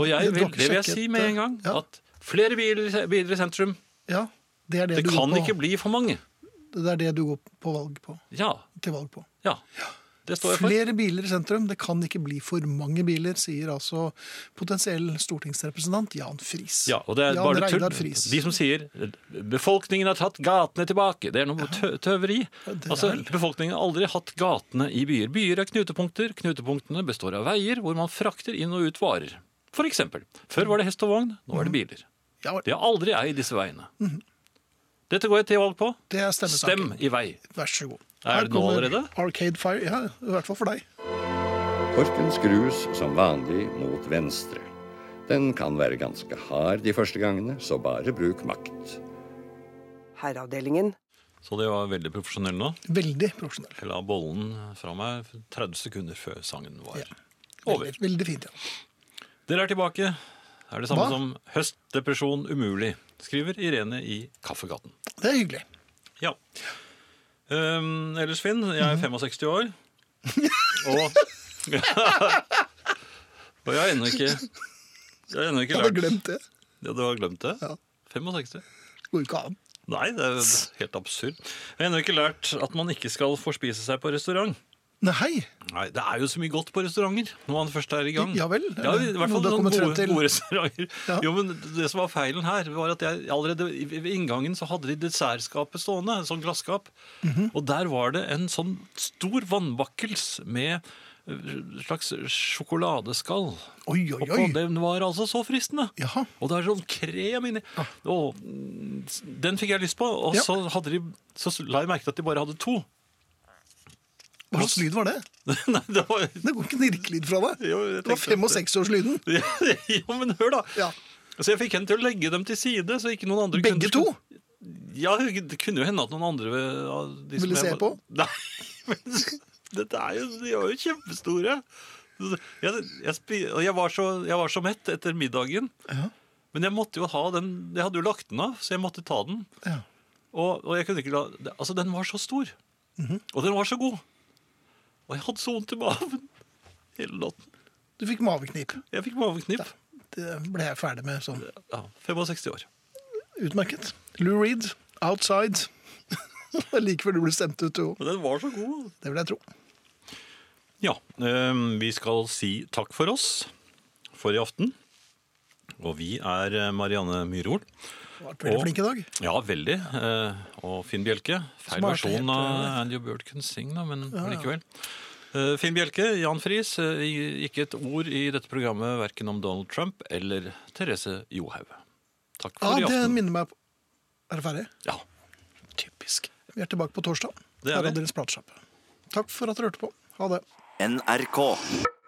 [SPEAKER 3] Og jeg
[SPEAKER 2] Du
[SPEAKER 3] vil,
[SPEAKER 2] har ikke
[SPEAKER 3] det vil jeg
[SPEAKER 2] sjekket, eh,
[SPEAKER 3] si med en gang.
[SPEAKER 2] ja.
[SPEAKER 3] At flere biler, biler i sentrum.
[SPEAKER 2] Ja. Det er det,
[SPEAKER 3] Det
[SPEAKER 2] du
[SPEAKER 3] kan
[SPEAKER 2] går på.
[SPEAKER 3] ikke bli for mange.
[SPEAKER 2] Det er det du går på valg på.
[SPEAKER 3] Ja.
[SPEAKER 2] Til valg på.
[SPEAKER 3] ja. Det står jeg for.
[SPEAKER 2] Flere biler i sentrum. Det kan ikke bli for mange biler, sier altså potensiell stortingsrepresentant Jan Friis.
[SPEAKER 3] Ja, og det er
[SPEAKER 2] Jan
[SPEAKER 3] bare tull.
[SPEAKER 2] Reidar Friis.
[SPEAKER 3] De som sier 'befolkningen har tatt gatene tilbake', det er noe tø tøveri.
[SPEAKER 2] det er
[SPEAKER 3] Altså,
[SPEAKER 2] vel-
[SPEAKER 3] Befolkningen har aldri hatt gatene i byer. Byer er knutepunkter. Knutepunktene består av veier hvor man frakter inn og ut varer. For eksempel. Før var det hest og vogn, nå er
[SPEAKER 2] Mhm.
[SPEAKER 3] det biler.
[SPEAKER 2] Ja,
[SPEAKER 3] De har aldri eid disse veiene. Dette går jeg til valg på.
[SPEAKER 2] Mhm. det er stemmesaken.
[SPEAKER 3] Stem i vei.
[SPEAKER 2] Vær så god.
[SPEAKER 3] Er
[SPEAKER 2] Her
[SPEAKER 3] det nå
[SPEAKER 2] kommer
[SPEAKER 3] allerede?
[SPEAKER 2] Arcade Fire. Ja, i hvert fall for deg.
[SPEAKER 5] Korken skrus som vanlig mot venstre. Den kan være ganske hard de første gangene, så bare bruk makt.
[SPEAKER 1] Herreavdelingen.
[SPEAKER 3] Så det var veldig profesjonell nå.
[SPEAKER 2] Veldig profesjonell.
[SPEAKER 3] Jeg la bollen fra meg 30 sekunder før sangen var over.
[SPEAKER 2] Veldig, veldig fint, ja.
[SPEAKER 3] Dere er tilbake. Er det samme
[SPEAKER 2] Hva?
[SPEAKER 3] som 'Høstdepresjon umulig', skriver Irene i Kaffegaten.
[SPEAKER 2] Det er hyggelig.
[SPEAKER 3] Ja.
[SPEAKER 2] Mhm.
[SPEAKER 3] Um, ellers, Finn, jeg er 65 år. Og Og jeg har ennå ikke Jeg har ennå ikke
[SPEAKER 2] Jeg hadde
[SPEAKER 3] lært
[SPEAKER 2] glemt det.
[SPEAKER 3] Ja, du har glemt det?
[SPEAKER 2] Ja.
[SPEAKER 3] 65?
[SPEAKER 2] Går ikke an.
[SPEAKER 3] Nei, det er jo helt absurd. Jeg har ennå ikke lært at man ikke skal forspise seg på restaurant.
[SPEAKER 2] Nei.
[SPEAKER 3] Nei, Det er jo så mye godt på restauranter når man først er i gang.
[SPEAKER 2] Ja vel,
[SPEAKER 3] Ja, i hvert
[SPEAKER 2] noe du
[SPEAKER 3] fall
[SPEAKER 2] har
[SPEAKER 3] noen
[SPEAKER 2] kommet frem
[SPEAKER 3] gode,
[SPEAKER 2] til.
[SPEAKER 3] gode restauranter.
[SPEAKER 2] Ja.
[SPEAKER 3] Jo, men Det som var feilen her, var at jeg allerede i- ved inngangen så hadde de dessertskapet stående. En sånn glasskap.
[SPEAKER 2] Mhm.
[SPEAKER 3] Og der var det en sånn stor vannbakkels med eh, slags sjokoladeskall.
[SPEAKER 2] Oi, oi,
[SPEAKER 3] Oppå,
[SPEAKER 2] oi.
[SPEAKER 3] den var altså så fristende.
[SPEAKER 2] Jaha.
[SPEAKER 3] Og det er sånn krem inni. Og, mm, den fikk jeg lyst på, og
[SPEAKER 2] Ja.
[SPEAKER 3] så, hadde de, så la jeg merke til at de bare hadde to.
[SPEAKER 2] Hva slags lyd var det?
[SPEAKER 3] Nei, det var
[SPEAKER 2] Det går ikke en rikkelyd fra deg.
[SPEAKER 3] Jo, jeg
[SPEAKER 2] Det var
[SPEAKER 3] tenkte
[SPEAKER 2] fem- og
[SPEAKER 3] at det-
[SPEAKER 2] seksårslyden.
[SPEAKER 3] ja, jo, men hør, da.
[SPEAKER 2] Ja.
[SPEAKER 3] Så jeg fikk henne til å legge dem til side. så ikke noen andre
[SPEAKER 2] Begge
[SPEAKER 3] kunder
[SPEAKER 2] to?
[SPEAKER 3] skulle- Ja, Det kunne jo hende at noen andre av de som
[SPEAKER 2] Ville
[SPEAKER 3] jeg
[SPEAKER 2] se
[SPEAKER 3] var-
[SPEAKER 2] på?
[SPEAKER 3] Nei, men dette er jo, de er jo kjempestore. Jeg, jeg, spi- og jeg, var så, jeg var så mett etter middagen. Men jeg måtte jo ha den, jeg hadde jo lagt den av, så jeg måtte ta den.
[SPEAKER 2] Ja.
[SPEAKER 3] Og, og jeg kunne ikke la det- Altså, den var så stor.
[SPEAKER 2] Mhm.
[SPEAKER 3] Og den var så god. Og jeg hadde så vondt i magen hele natten.
[SPEAKER 2] Du fikk maveknip.
[SPEAKER 3] Jeg fikk mageknip.
[SPEAKER 2] Det ble jeg ferdig med sånn.
[SPEAKER 3] Ja, 65 år.
[SPEAKER 2] Utmerket. Lou Reed, 'Outside'. Like før du ble stemt ut, jo.
[SPEAKER 3] Men den var så god.
[SPEAKER 2] Det vil jeg tro.
[SPEAKER 3] Ja, øhm, vi skal si takk for oss for i aften. Og vi er eh, Marianne Myrhol.
[SPEAKER 2] Du har vært veldig
[SPEAKER 3] Og-
[SPEAKER 2] flink i dag.
[SPEAKER 3] Ja, veldig. eh, Og Finn Bjelke.
[SPEAKER 2] Som har
[SPEAKER 3] Feil
[SPEAKER 2] vært
[SPEAKER 3] versjon
[SPEAKER 2] helt, eh,
[SPEAKER 3] av Andy Bjørkens sing, da, men likevel. Eh, Finn Bjelke, Jan Friis. eh, i- Ikke et ord i dette programmet verken om Donald Trump eller Therese Johaug. Takk for
[SPEAKER 2] Ja,
[SPEAKER 3] i
[SPEAKER 2] det
[SPEAKER 3] aften.
[SPEAKER 2] minner meg på Er det ferdig?
[SPEAKER 3] Ja,
[SPEAKER 2] Typisk. Vi er tilbake på torsdag.
[SPEAKER 3] Det er
[SPEAKER 2] Her er
[SPEAKER 3] vi.
[SPEAKER 2] deres platesjappe. Takk for at dere hørte på. Ha det.
[SPEAKER 6] NRK.